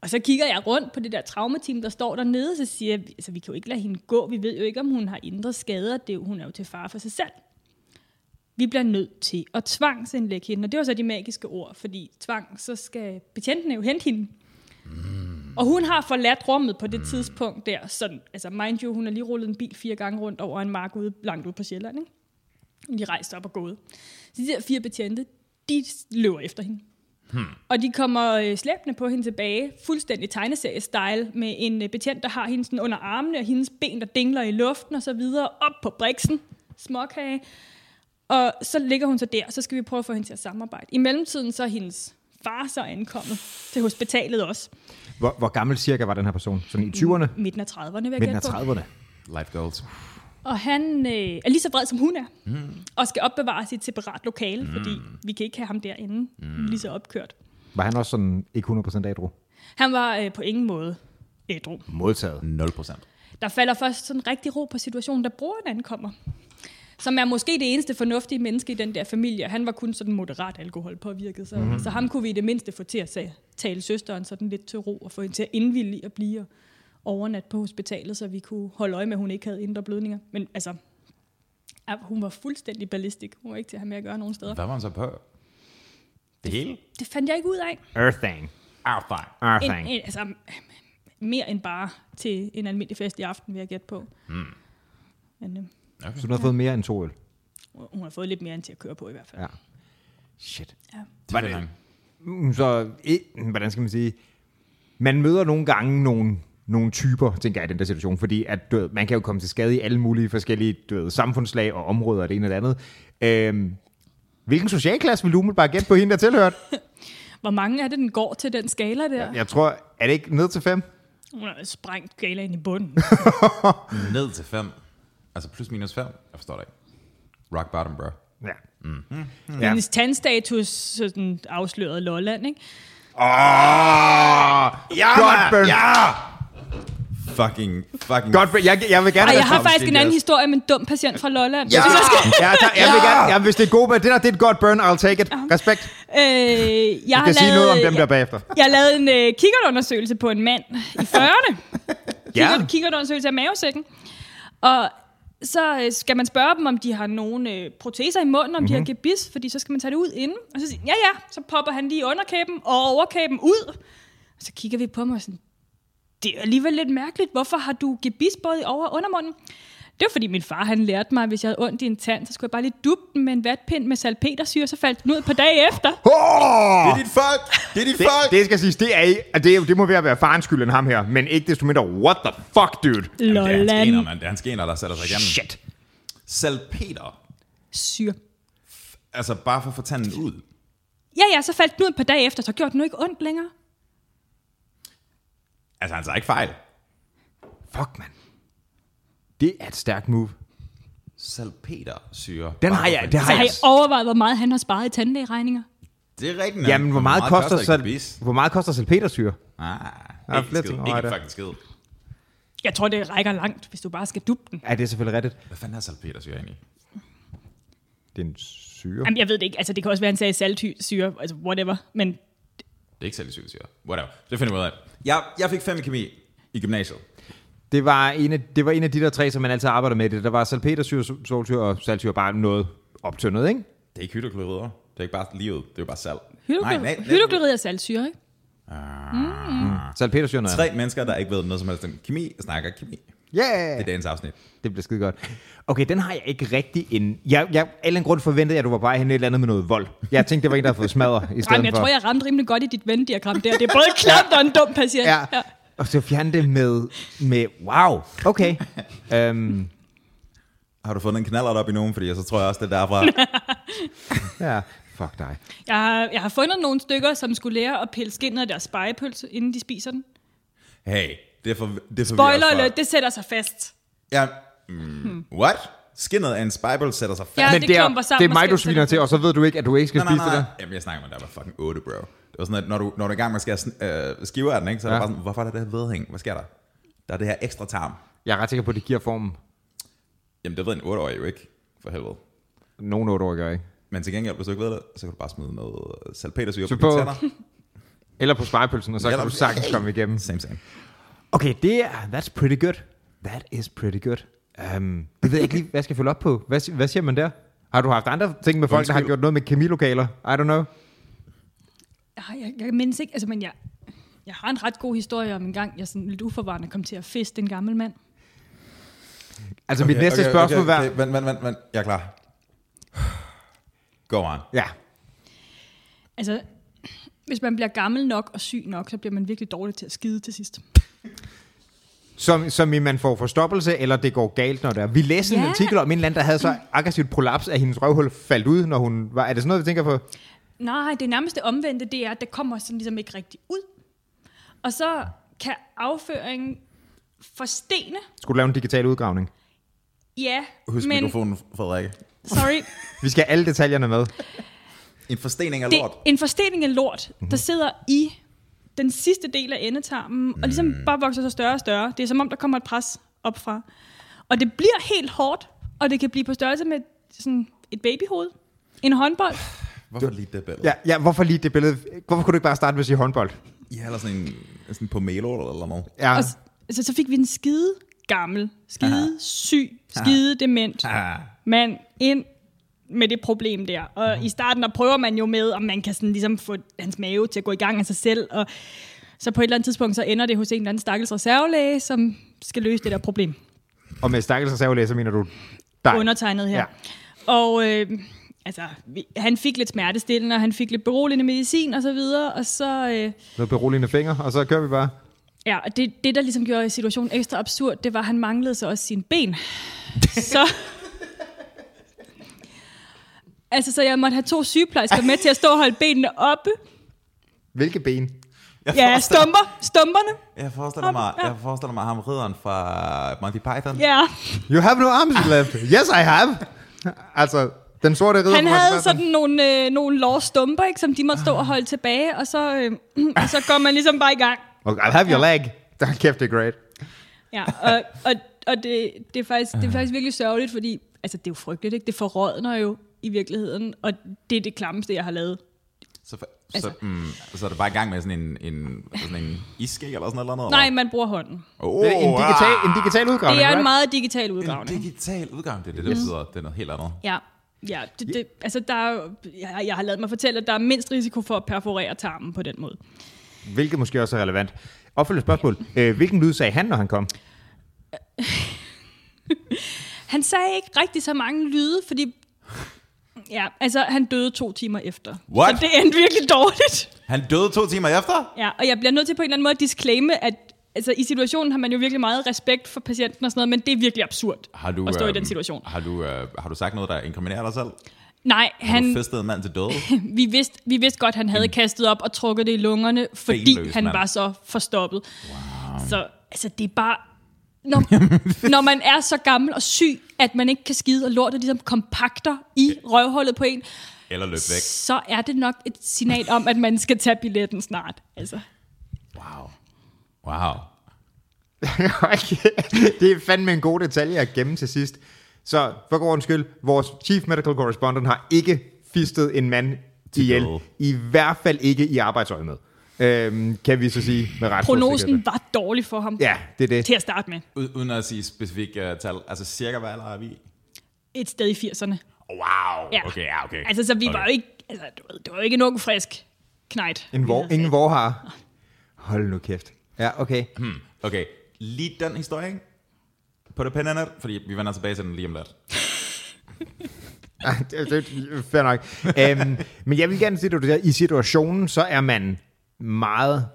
Og så kigger jeg rundt på det der traumateam, der står dernede, så siger jeg, altså, vi kan jo ikke lade hende gå, vi ved jo ikke, om hun har indre skader, det er jo, hun er jo til fare for sig selv. Vi bliver nødt til at tvangsindlægge hende, og det var så de magiske ord, fordi tvang, så skal betjentene jo hente hende. Og hun har forladt rummet på det tidspunkt der, sådan, altså mind you, hun har lige rullet en bil fire gange rundt over en mark ude, langt ude på Sjælland, ikke? Hun er rejst op og gået. Så de der fire betjente, de løber efter hende. Og de kommer øh, slæbende på hende tilbage, fuldstændig tegneserie-style, med en øh, betjent, der har hende sådan under armene, og hendes ben, der dingler i luften og så videre, op på briksen, småkage. Og så ligger hun så der, og så skal vi prøve at få hende til at samarbejde. I mellemtiden så er hendes far så ankommet til hospitalet også. Hvor, hvor gammel cirka var den her person? Sådan i 20'erne? Midten af 30'erne, vil Mm. jeg Midten af gætte på. 30'erne? Life goals. Og han øh, er lige så vred, som hun er, mm. og skal opbevares i et separat lokale, mm. fordi vi kan ikke have ham derinde, mm. lige så opkørt. Var han også sådan ikke 100% ædru? Han var øh, på ingen måde ædru. Modtaget. 0 procent. Der falder først sådan rigtig ro på situationen, da broren ankommer. Som er måske det eneste fornuftige menneske i den der familie. Han var kun sådan moderat alkoholpåvirket, så, mm. så ham kunne vi i det mindste få til at sa- tale søsteren sådan lidt til ro, og få hende til at indvillige at blive og overnat på hospitalet, så vi kunne holde øje med, at hun ikke havde indre blødninger. Men altså, ja, hun var fuldstændig ballistik. Hun var ikke til at have med at gøre nogen steder. Hvad var han så på? Det hele? Det fandt jeg ikke ud af. Earthang. Affang. En, Earthang. en, altså, mere end bare til en almindelig fest i aften, vil jeg gætte på. Mm. Men, øh, Så du har fået mere end to øl? Hun har fået lidt mere end til at køre på i hvert fald. Ja. Shit. Var det lang? Mm, Så, eh, hvordan skal man sige? Man møder nogle gange nogle, nogle typer, tænker jeg, i den der situation, fordi at, du ved, man kan jo komme til skade i alle mulige forskellige du ved, samfundslag og områder, og det ene og det andet. Øhm, hvilken socialklasse vil du umiddelbart gætte på hende, der tilhørte? Hvor mange er det, den går til den skala der? Ja. Jeg tror, er det ikke ned til fem? Hun har sprængt skalaen i bunden. Ned til 5. Altså plus minus 5. Jeg forstår det ikke. Rock bottom, bro. Ja. Mm. Ja. Hendes tandstatus sådan afslørede Lolland, ikke? Åh! Ja, Godt, Bern. Ja! Fucking, fucking... Godt, jeg, jeg vil gerne Ej, være jeg har sammen. faktisk en anden Yes. historie med en dum patient fra Lolland. Øh, Ja, [laughs] Jeg synes, jeg skal- ja, tak, jeg vil gerne, ja, hvis det er gode, det der det er et godt burn, I'll take it. Respekt. Du Øh, jeg har kan lavet, sige noget om dem der bagefter. Jeg lavede en øh, kikkertundersøgelse på en mand i [laughs] 40'erne. Ja. Kikkert, kikkertundersøgelse af mavesækken. Og så øh, skal man spørge dem, om de har nogle øh, proteser i munden, om mm-hmm. Mhm. de har gebis, fordi så skal man tage det ud inden. Og så siger de, ja ja, så popper han lige underkæben og overkæben ud. Og så kigger vi på mig og sådan, det er alligevel lidt mærkeligt. Hvorfor har du gebis både i over- og undermunden? Det var fordi min far han lærte mig, at hvis jeg havde ondt i en tand, så skulle jeg bare lige dubbe den med en vatpind med salpetersyre, så faldt den ud på dag efter. Oh! Det er dit folk! Det er dit Det, folk! det skal siges, det er, ikke- at det, er- det må være, være farens skyld end ham her, men ikke desto mindre, what the fuck, dude? Jamen, det er hans gener, Lolland. mand. Det er hans gener, der sætter sig igennem. Shit. Salpeter. Syre. Altså, bare for at få tanden ud. Ja, ja, så faldt den ud et par dage efter, så gjorde den nu ikke ondt længere. Altså, han tager ikke fejl. Fuck, man. Det er et stærkt move. Salpeter syre. Den har jeg, det har Så har jeg. I overvejet, hvor meget han har sparet i tandlægeregninger? Det er rigtigt. Jamen, hvor meget, koster, et gebis? sal- hvor meget koster salpetersyre? Ah, Der er ikke flere skid. ting over Ikke det. fucking skid. Jeg tror, det rækker langt, hvis du bare skal dubbe den. Ja, det er selvfølgelig rigtigt. Hvad fanden er salpeter syre egentlig? Det er en syre. Jamen, jeg ved det ikke. Altså, det kan også være, han sagde saltsyre, altså whatever. Men Det er ikke salicylsyre. Whatever. Det finder vi ud af. Jeg, jeg fik fem i kemi i gymnasiet. Det var, en af, det var en af de der tre, som man altid arbejder med. i Det. Der var salpetersyre, sol- solsyre og saltsyre, bare noget optyndet, ikke? Det er ikke hydroklorider. Det er ikke bare livet. Det er jo bare salt. hydroklor- hydroklorid er saltsyre, ikke? Ah. Salpetersyre er noget. andet. Ah. Tre mennesker, der ikke ved noget som helst om kemi, snakker kemi. Det Yeah! er dagens afsnit. Det bliver skide godt. Okay, den har jeg ikke rigtig en... Jeg, jeg, af en eller anden grund forventede jeg, at du var bare hen et eller andet med noget vold. Jeg tænkte, det var en, der havde fået smadret i stedet Ej, men jeg for. tror, jeg ramte rimelig godt i dit venddiagram der. Det er både klamt og en dum patient. Ja. Og så fjerne det med, med wow, okay. øhm, Har du fundet en knaller op i nogen? Fordi så tror jeg også, det er [laughs] derfra. ja, fuck dig. Jeg, har, jeg har fundet nogle stykker, som skulle lære at pille skindet af deres spejepølse, inden de spiser den. Hey, det er for... Det er for Boiler alert, det sætter sig fast. Ja. Mm, what? Skinnet af en spejbel sætter sig fast. Ja, Ja. Men det det er, klumper sammen det er og mig, du skælder sviner sig til, og så ved du ikke, at du ikke skal Nej, spise nej, det nej. der. Jamen, jeg snakker med dig, var fucking 8, bro. Det var sådan, at når du, når du er i gang med at skære sn- øh, skiver af den, ikke, så er Ja. ja. bare sådan, hvorfor er der det her vedhæng? Hvad sker der? Der er det her ekstra tarm. Jeg er ret sikker på, at det giver formen. Jamen, det ved en 8-årig jo ikke, for helvede. Nogen otte år gør ikke. Men til gengæld, hvis du ikke ved det, så kan du bare smide noget salpetersyre Så på på- dine [laughs] tænder. Eller på spejepølsen, og så kan Eller- du sagtens komme igennem. Same, same. Okay, det er, that's pretty good. That is pretty good. Um, det ved jeg ikke lige, hvad jeg skal følge op på. Hvad, si- hvad siger man der? Har du haft andre ting med folk, der har Undskyld. gjort noget med kemilokaler? I don't know. Ej, Jeg, jeg mindes ikke, altså, men jeg, jeg har en ret god historie om en gang, jeg sådan lidt uforvarende kom til at fiste en gammel mand. Altså, okay, mit næste spørgsmål var... okay, Vent, vent, vent, vent. Jeg er klar. Go on. Ja, Altså, hvis man bliver gammel nok og syg nok, så bliver man virkelig dårlig til at skide til sidst. som, som i man får forstoppelse, eller det går galt, når det er. Vi læste yeah. en Ja. artikel om en eller anden, der havde så aggressivt prolaps, at hendes røvhul faldt ud, når hun var... Er det sådan noget, vi tænker på? Nej, det nærmeste omvendte, det er, at det kommer sådan ligesom ikke rigtig ud. Og så kan afføringen forstene. Skulle du lave en digital udgravning? Ja, Husk Men... men... mikrofonen, Frederik. Sorry. Vi skal have alle detaljerne med. En forstening [laughs] af Det, lort. Mhm. en forstening af lort, mm-hmm. der sidder i den sidste del af endetarmen, og ligesom Mm. bare vokser sig større og større. Det er som om, der kommer et pres op fra. Og det bliver helt hårdt, og det kan blive på størrelse med sådan et babyhoved, en håndbold. Hvorfor lige det billede? Ja, ja, hvorfor lige det billede? Hvorfor kunne du ikke bare starte med at sige håndbold? Ja, eller sådan en sådan på mail eller noget. Ja. Og s- altså, så fik vi en skide gammel, skide Aha. syg, skide Aha. dement Ah. mand ind med det problem der. Og i starten, der prøver man jo med, om man kan sådan ligesom få hans mave til at gå i gang af sig selv. Og så på et eller andet tidspunkt, så ender det hos en eller anden stakkels reservelæge, som skal løse det der problem. Og med stakkels reservelæser mener du dig. Undertegnet her. Ja. Ja. Og øh, altså, vi, han fik lidt smertestillende, og han fik lidt beroligende medicin og så videre, og så... Øh, Noget beroligende fingre, og så kører vi bare. Ja, og det, det, der ligesom gjorde situationen ekstra absurd, det var, at han manglede så også sine ben. så... Altså, så jeg måtte have to sygeplejersker med til at stå og holde benene oppe. Hvilke ben? Jeg Ja, forestiller- stumper, stumperne. Jeg forestiller mig, jeg forestiller mig ham ridderen fra Monty Python. Ja, You have no arms left. Yes, I have. Altså, den sorte ridder. han fra havde Monty Python. sådan nogle, øh, nogle lårstumper, ikke, som de måtte stå og holde tilbage, [clears throat] og så, øh, og så går man ligesom bare i gang. Oh, [laughs] Okay, I'll have your leg. Der kæft, det er great. Ja, og, og, og det, det, er faktisk, det er faktisk virkelig sørgeligt, fordi altså, det er jo frygteligt, ikke? Det forrådner jo i virkeligheden, og det er det klammeste, jeg har lavet. Så, for, altså. Altså. så, mm, så er det bare i gang med sådan en, en, sådan en iske eller sådan noget? Nej, man bruger hånden. oh, Det er en, digital, en digital udgravning, Det er en right? meget digital En udgravning. digital udgang, det er det, der Mhm. betyder. Det er noget helt andet. Ja, ja det, det, altså der er, jo- jeg, jeg har lavet mig fortælle, at der er mindst risiko for at perforere tarmen på den måde. Hvilket måske også er relevant. Opfølgende spørgsmål. Øh, hvilken lyd sagde han, når han [laughs] kom? Han sagde ikke rigtig så mange lyde, fordi... Ja, altså han døde to timer efter. What? Så det endte virkelig dårligt. Han døde to timer efter? Ja, og jeg bliver nødt til på en eller anden måde at disclaime, at altså, i situationen har man jo virkelig meget respekt for patienten og sådan noget, men det er virkelig absurd Har du, at stå i øhm, den situation. Har du, øh, har du sagt noget, der inkriminerer dig selv? Nej, Har han, du festet en mand til [laughs] døde? vi, vidste, vi vidste godt, at han havde kastet op og trukket det i lungerne, fordi Benløs han mand. var så forstoppet. Wow. Så altså, det er bare... [laughs] Når, når man er så gammel og syg, at man ikke kan skide, og lortet ligesom kompakter i røvhullet på en, Eller løb væk? så er det nok et signal om, at man skal tage billetten snart. Altså, Wow. Wow. Okay. det er fandme en god detalje at gemme til sidst. Så for god ordens skyld, vores chief medical correspondent har ikke fistet en mand ihjel. døde. I hvert fald ikke i arbejdsøje med. Øhm, kan vi så sige med ret stor sikkerhed. prognosen var dårlig for ham Ja, det er det. til at starte med. U- uden at sige specifikke uh, tal, altså cirka hvad alder er vi? i? Et sted i 80'erne. Wow. Ja. Okay, ja, okay. Altså, så vi okay. var jo ikke... Altså, du ved, det var jo ikke en ung, frisk knejt. En vor, ingen vor har. Hold nu kæft. Ja, okay. Okay, lige den historie, ikke? På det pændende, fordi vi vender tilbage til den lige om lidt. Ah, det, det, fair nok. Øhm, men jeg vil gerne sige, at i situationen, så er man meget...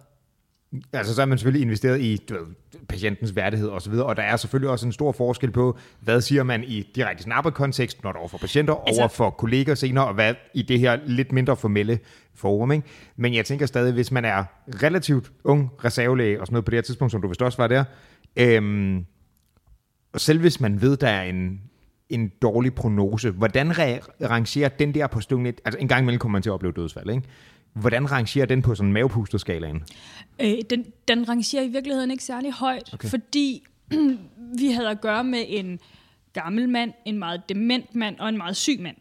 Altså, så er man selvfølgelig investeret i du ved, patientens værdighed osv., og der er selvfølgelig også en stor forskel på, hvad siger man i direkte snapperkontekst, når det er over for patienter, altså, Altså- over for kolleger senere, og hvad i det her lidt mindre formelle forum. Ikke? Men jeg tænker stadig, hvis man er relativt ung reservelæge og sådan noget på det her tidspunkt, som du vist også var der, øhm, og selv hvis man ved, der er en, en dårlig prognose, hvordan ra- rangerer den der på stående... Altså en gang imellem kommer man til at opleve dødsfald, ikke? Hvordan rangerer den på sådan mavepusterskalaen? Øh, den, den rangerer i virkeligheden ikke særlig højt, okay. fordi [clears throat] vi havde at gøre med en gammel mand, en meget dement mand og en meget syg mand.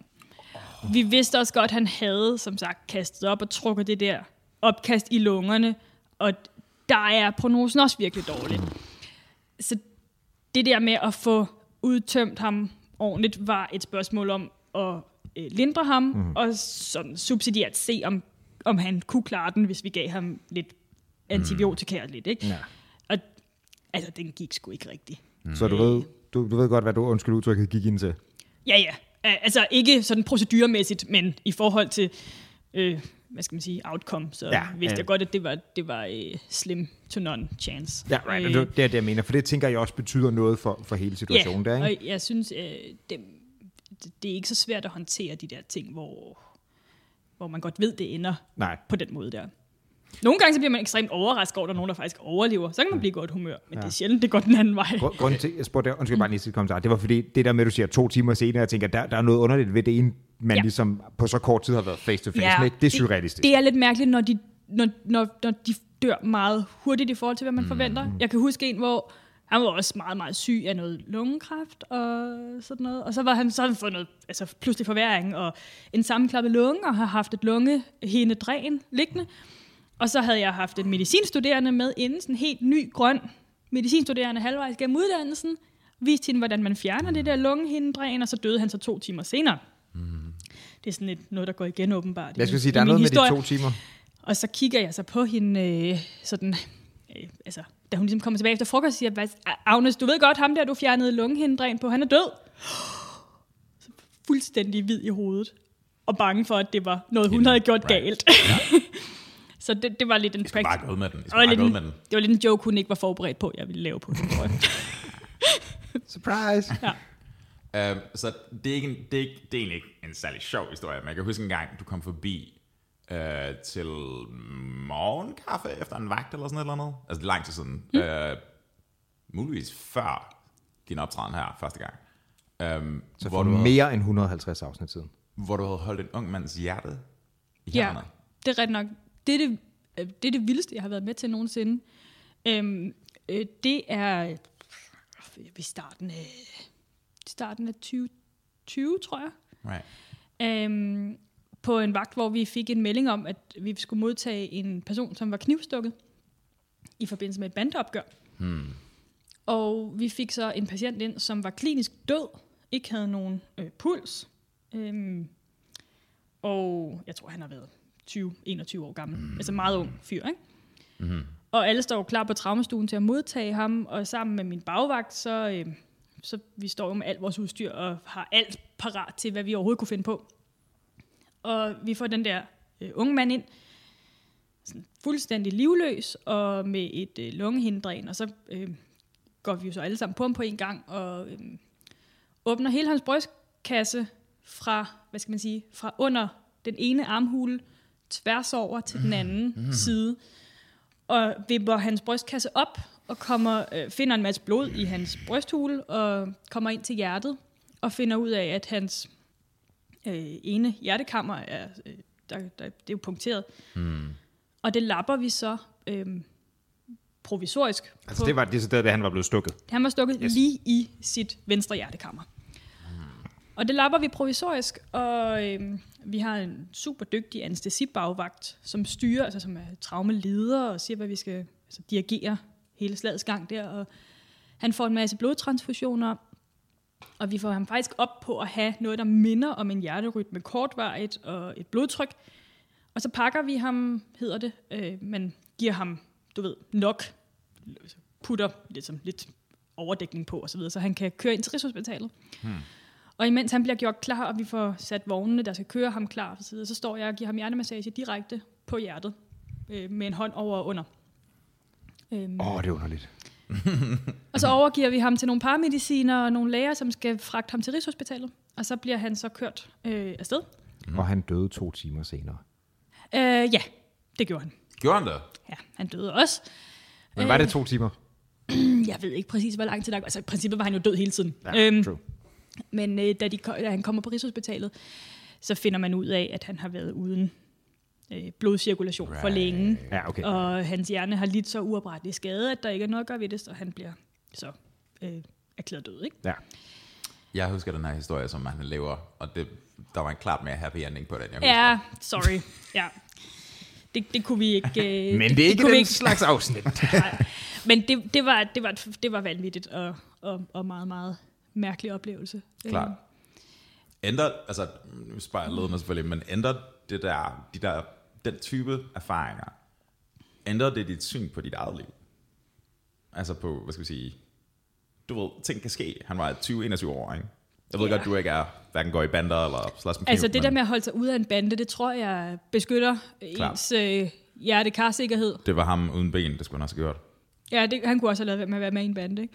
Vi vidste også godt, at han havde, som sagt, kastet op og trukket det der opkast i lungerne, og der er prognosen også virkelig dårlig. Så det der med at få udtømt ham ordentligt, var et spørgsmål om at øh, lindre ham, Mhm. mm. og sådan subsidiært se, om, om han kunne klare den, hvis vi gav ham lidt antibiotika og lidt, ikke? Mhm. Ja. Og altså, den gik sgu ikke rigtigt. Mm. Så du ved, du, du ved godt, hvad du undskyld udtrykket gik ind til. Ja, ja. Al- Altså ikke sådan proceduremæssigt, men i forhold til, øh, hvad skal man sige, outcome, så Ja, ja, vidste ja. jeg godt, at det var, det var øh, slim to none chance. Ja, right. Øh. Det er det, jeg mener, for det tænker jeg også betyder noget for, for hele situationen ja, der, ikke? og jeg synes, øh, det, det- det er ikke så svært at håndtere de der ting, hvor, hvor man godt ved, det ender Nej. på den måde der. Nogle gange så bliver man ekstremt overrasket over, at der er nogen, der faktisk overlever. Så kan man blive i godt humør, men ja. det er sjældent, det går den anden vej. Gru- Grunden til, jeg spurgte dig, undskyld bare lige til kommentar, det var fordi, det der med, at du siger to timer senere, jeg tænker, der, der er noget underligt ved det ene, man ja. Ja. ligesom på så kort tid har været face to face med. Det er surrealistisk. Det, det er lidt mærkeligt, når de, når, når, når de dør meget hurtigt i forhold til, hvad man mm. forventer. Jeg kan huske en, hvor han var også meget, meget syg af noget lungekræft og sådan noget. Og så var han sådan fået noget, altså pludselig forværing og en sammenklappet lunge, og har haft et lungehindedræn liggende. Og så havde jeg haft en medicinstuderende med inden, sådan en helt ny grøn medicinstuderende halvvejs gennem uddannelsen. Viste hende, hvordan man fjerner det der lungehindedræn, og så døde han så to timer senere. Det er sådan lidt noget, der går igen åbenbart. i Jeg Mm. skal min- sige, i der er min noget med historie. de to timer. Og så kigger jeg så på hende øh, sådan, øh, altså, da hun ligesom kommer tilbage efter frokost, siger jeg, Agnes, du ved godt ham der, du fjernede lungehindren på, han er død. [gasps] Så fuldstændig hvid i hovedet, og bange for, at det var noget, hun Hende. havde gjort Right. galt. [laughs] så det, det var lidt en Jeg skal practice. bare gå ud med den. Jeg Det var, skal bare lidt gå ud en, med den. det var lidt en joke, hun ikke var forberedt på, jeg ville lave på hende, tror jeg. Surprise! Øhm, så det er, ikke en, det, er ikke, det er egentlig ikke en særlig sjov historie, men jeg kan huske en gang, du kom forbi øh, til morgenkaffe efter en vagt eller sådan et eller andet. Altså det er lang tid siden. Mm. Øh, muligvis før din optræden her første gang. Øhm, Så hvor, for du havde, mere end 150 afsnit siden. hvor du havde holdt en ung mands hjerte i Ja, hænderne. det er rigtigt nok. Det er det, øh, det er det vildeste, jeg har været med til nogensinde. Øhm, øh, det er ved starten af, starten af 2020, tror jeg. Right. Øhm, på en vagt, hvor vi fik en melding om, at vi skulle modtage en person, som var knivstukket i forbindelse med et bandeopgør. Hmm. Og vi fik så en patient ind, som var klinisk død, ikke havde nogen øh, puls, øhm, og jeg tror, han har været 20-21 år gammel. Mm. Altså meget ung fyr, ikke? Og alle står jo klar på traumastuen til at modtage ham, og sammen med min bagvagt, så, øh, så vi står jo med alt vores udstyr og har alt parat til, hvad vi overhovedet kunne finde på. Og vi får den der øh, unge mand ind, sådan fuldstændig livløs og med et øh, lungehindræn, og så øh, går vi jo så alle sammen på ham på en gang og øh, åbner hele hans brystkasse fra, hvad skal man sige, fra under den ene armhule tværs over til den anden side og vipper hans brystkasse op og kommer, øh, finder en masse blod i hans brysthule og kommer ind til hjertet og finder ud af, at hans øh, ene hjertekammer er, øh, der, der, det er jo punkteret. Mm. Og det lapper vi så øh, provisorisk. Altså, på- det var decideret, da han var blevet stukket. han var stukket yes. lige i sit venstre hjertekammer. Og det lapper vi provisorisk, og øhm, vi har en super dygtig anestesibagvagt, som styrer, altså som er traumeleder og siger, hvad vi skal altså, dirigere hele slagets gang der. Og han får en masse blodtransfusioner, og vi får ham faktisk op på at have noget, der minder om en hjerterytme kortvarigt og et blodtryk. Og så pakker vi ham, hedder det, øh, men giver ham, du ved, nok putter lidt, som lidt overdækning på osv., så han kan køre ind til Rigshospitalet. Hmm. Og imens han bliver gjort klar, og vi får sat vognene, der skal køre ham klar, og så, videre, så står jeg og giver ham hjertemassage direkte på hjertet, øh, med en hånd over og under. Øhm, Åh, oh, det er underligt. og så overgiver vi ham til nogle paramediciner og nogle læger, som skal fragte ham til Rigshospitalet. Og så bliver han så kørt øh, afsted. Mm. Og han døde to timer senere. Øh, ja, det gjorde han. Gjorde han det? Ja, han døde også. Men Øh, var det to timer? Jeg ved ikke præcis, hvor lang tid der... Altså, i princippet var han jo død hele tiden. Øhm, Ja, øhm, true. Men øh, da, de, ko- da han kommer på Rigshospitalet, så finder man ud af, at han har været uden øh, blodcirkulation right. for længe. Ja, okay. Og hans hjerne har lidt så uopretteligt skade, at der ikke er noget at gøre ved det, så han bliver så øh, erklæret død. Ikke? Ja. Jeg husker den her historie, som han lever, og det, der var en klart mere happy ending på den, jeg husker. Ja, sorry. Ja. Det, det kunne vi ikke... [laughs] Øh, Men det er ikke kunne vi den slags [laughs] afsnit. Nej. Men det, det, var, det, var, det var vanvittigt og, og, og meget, meget mærkelig oplevelse. Klart. Øh, Ændrer, altså, nu spørger jeg lidt med selvfølgelig, men ændrer det der, de der, den type erfaringer, ændrer det dit syn på dit eget liv? Altså på, hvad skal vi sige, du ved, ting kan ske. Han var 20-21 år, ikke? Jeg ved Ja. godt, du ikke er, hverken går i bander eller slås med Altså kniv, det der men med at holde sig ude af en bande, det tror jeg beskytter Klart. Klar. ens øh, hjertekarsikkerhed. Det var ham uden ben, det skulle han også have gjort. Ja, det, han kunne også have lavet være med at være med i en bande. Ikke?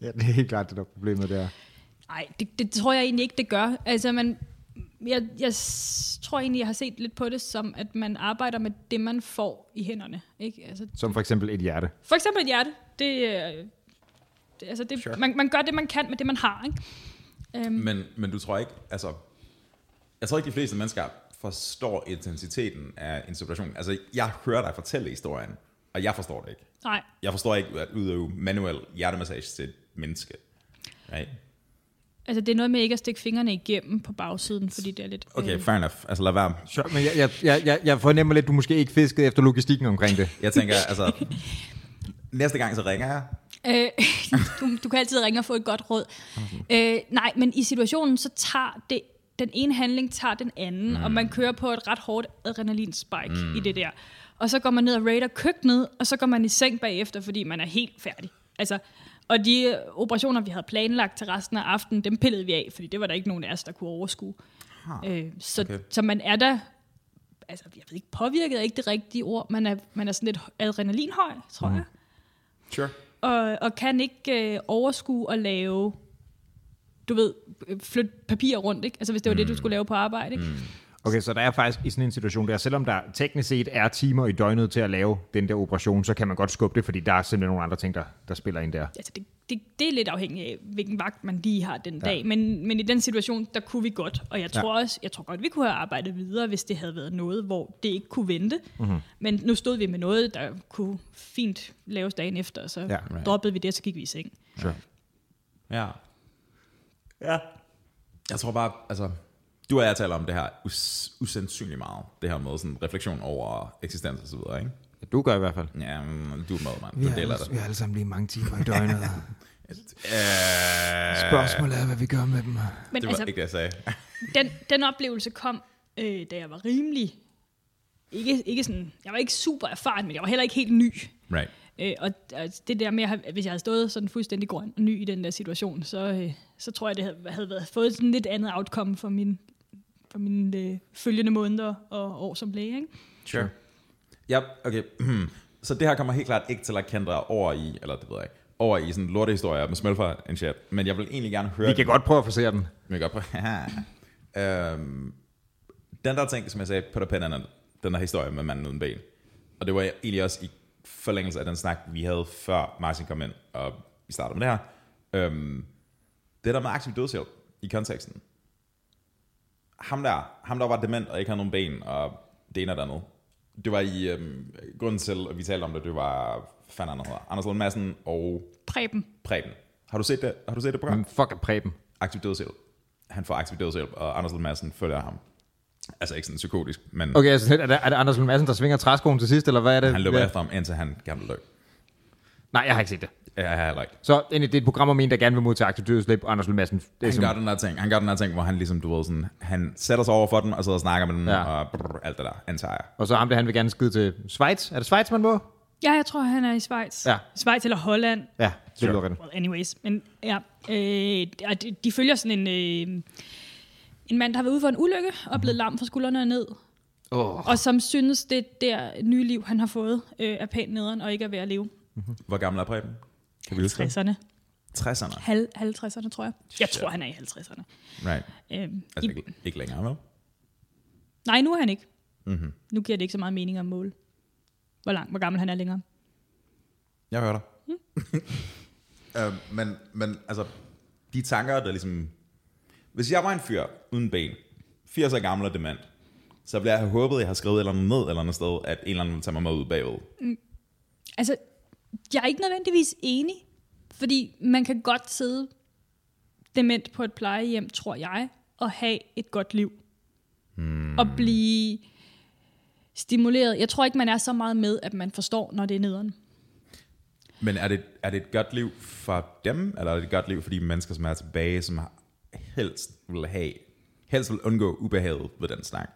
ja, det er helt klart det der problemet der. Nej, det, det tror jeg egentlig ikke, det gør. Altså man, jeg, jeg s- tror egentlig, jeg har set lidt på det som, at man arbejder med det, man får i hænderne. Ikke? Altså, Som for eksempel et hjerte. for eksempel et hjerte. Det, øh, det, altså det, Sure. Mm. sure. man, man gør det, man kan med det, man har. Ikke? Øhm, Men, men du tror ikke, altså... Jeg tror ikke, de fleste mennesker forstår intensiteten af en situation. Altså, jeg hører dig fortælle historien, og jeg forstår det ikke. nej, Jeg forstår ikke at udøve manuel hjertemassage til et menneske. Right? altså det er noget med ikke at stikke fingrene igennem på bagsiden, fordi det er lidt... øh, Okay, fair enough. Altså, lad være. Sure, men jeg, jeg, jeg, jeg, jeg fornemmer lidt, at du måske ikke fiskede efter logistikken omkring det. Jeg tænker, altså... Næste gang, så ringer jeg. Øh, [laughs] du, du kan altid ringe og få et godt råd. Øh, nej, men i situationen, så tager det, den ene handling tager den anden, mm. og man kører på et ret hårdt adrenalinspike mm. i det der. Og så går man ned og raider køkkenet, og så går man i seng bagefter, fordi man er helt færdig. Altså, og de øh, operationer, vi havde planlagt til resten af aftenen, dem pillede vi af, fordi det var der ikke nogen af os, der kunne overskue. Øh, så, okay. okay. så man er da, altså jeg ved ikke, påvirket er ikke det rigtige ord, man er, man er sådan lidt adrenalinhøj, tror mm. jeg Sure. og, og kan ikke øh, overskue at lave, du ved, øh, flytte papir rundt, ikke? Altså hvis det var mm. det, du skulle lave på arbejde, ikke? Mm. Okay, så der er faktisk i sådan en situation der, selvom der teknisk set er timer i døgnet til at lave den der operation, så kan man godt skubbe det, fordi der er simpelthen nogle andre ting, der, der spiller ind der. Altså, det, det, det er lidt afhængigt af, hvilken vagt man lige har den dag. Men, men i den situation, der kunne vi godt. Og jeg tror også, jeg tror godt, vi kunne have arbejdet videre, hvis det havde været noget, hvor det ikke kunne vente. Mm-hmm. Men nu stod vi med noget, der kunne fint laves dagen efter, og så ja, right. droppede vi det, og så gik vi i seng. Sure. Ja. Ja. Jeg tror bare, altså, du og jeg taler om det her us- usandsynligt meget. Det her med sådan refleksion over eksistens og så videre, ikke? Du gør i hvert fald. Ja, men du er med, mand. Du deler det. vi har alle sammen lige mange timer i døgnet. [laughs] Øh, Spørgsmålet er, hvad vi gør med dem. Det Men var altså, ikke det, jeg [laughs] sagde. den, den oplevelse kom, øh, da jeg var rimelig... Ikke, ikke sådan, jeg var ikke super erfaren, men jeg var heller ikke helt ny. Right. Øh, og og det der med, at have- hvis jeg havde stået sådan fuldstændig grøn og ny i den der situation, så, øh, så tror jeg, det havde, havde været, fået sådan lidt andet outcome for min for mine øh, følgende måneder og år som læge. Ikke? Sure. Ja, okay. [clears throat] Så det her kommer helt klart ikke til at kende dig over i, eller det ved jeg ikke, over i sådan lortehistorier med smølfer and shit. Men jeg vil egentlig gerne høre... Vi kan din- godt prøve at forsere den. Vi kan godt prøve. øhm, den der ting, som jeg sagde, Peter Pan and den der historie med manden uden ben. Og det var egentlig også i forlængelse af den snak, vi havde før Martin kom ind, og vi startede med det her. Øhm, det der med aktiv dødshjælp i konteksten. Ham der, ham der var dement og ikke havde nogen ben, og det ene og det andet. Det var i øhm, grunden til, at vi talte om det, det var hvad fanden han hedder, Anders Lund Madsen og Preben. Preben. Har du set det? Har du set det program? Men fuck er Preben. aktiv dødshjælp. Han får aktiv dødshjælp, og Anders Lund Madsen følger ham. Altså ikke sådan psykotisk, men okay. Okay, altså, er, det, er det Anders Lund Madsen, der svinger træskoen til sidst, eller hvad er det? han løber Ja. efter ham, indtil han gerne vil dø. Nej, jeg har ikke set det. Ja, jeg har heller ikke. Så egentlig, det er et program om en, der gerne vil modtage aktiv dødslip, og Anders Lund Madsen. Det er Han som, gør den der ting, han gør den der ting, hvor han ligesom, du ved sådan, han sætter sig over for dem, og sidder og snakker med dem, Ja. ja. og brrr, alt det der, antager jeg. og så ham der, han vil gerne skide til Schweiz. Er det Schweiz, man må? Ja, jeg tror, han er i Schweiz. Ja. Schweiz eller Holland. Ja, det Sure. lyder rigtigt. Well, anyways. Men ja, øh, og de, de følger sådan en, øh, en mand, der har været ude for en ulykke og blevet lam fra skuldrene og ned. Oh. Og som synes, det der nye liv, han har fået, øh, er pænt nederen og ikke er ved at leve. Hvor gammel er Preben? Kan vi huske det? 60'erne. 60'erne. Hal, 50'erne, tror jeg. Shit. Jeg tror, han er i 50'erne. Right. Øhm, Altså i, ikke, ikke længere, vel? nej, nu er han ikke. Mm-hmm. Nu giver det ikke så meget mening at måle, hvor, lang, hvor gammel han er længere. Jeg hører dig. Mm. [laughs] øh, men, men altså, de tanker, der ligesom... Hvis jeg var en fyr uden ben, 80 år gammel og dement, så ville jeg have håbet, at jeg har skrevet et eller andet ned et eller andet sted, at en eller anden ville tage mig med ud bagved. Altså, jeg er ikke nødvendigvis enig, fordi man kan godt sidde dement på et plejehjem, tror jeg, og have et godt liv. Mm. Og blive stimuleret. Jeg tror ikke, man er så meget med, at man forstår, når det er nederen. Men er det, er det et godt liv for dem, eller er det et godt liv for de mennesker, som er tilbage, som har- helst vil have, helst vil undgå ubehaget ved den snak?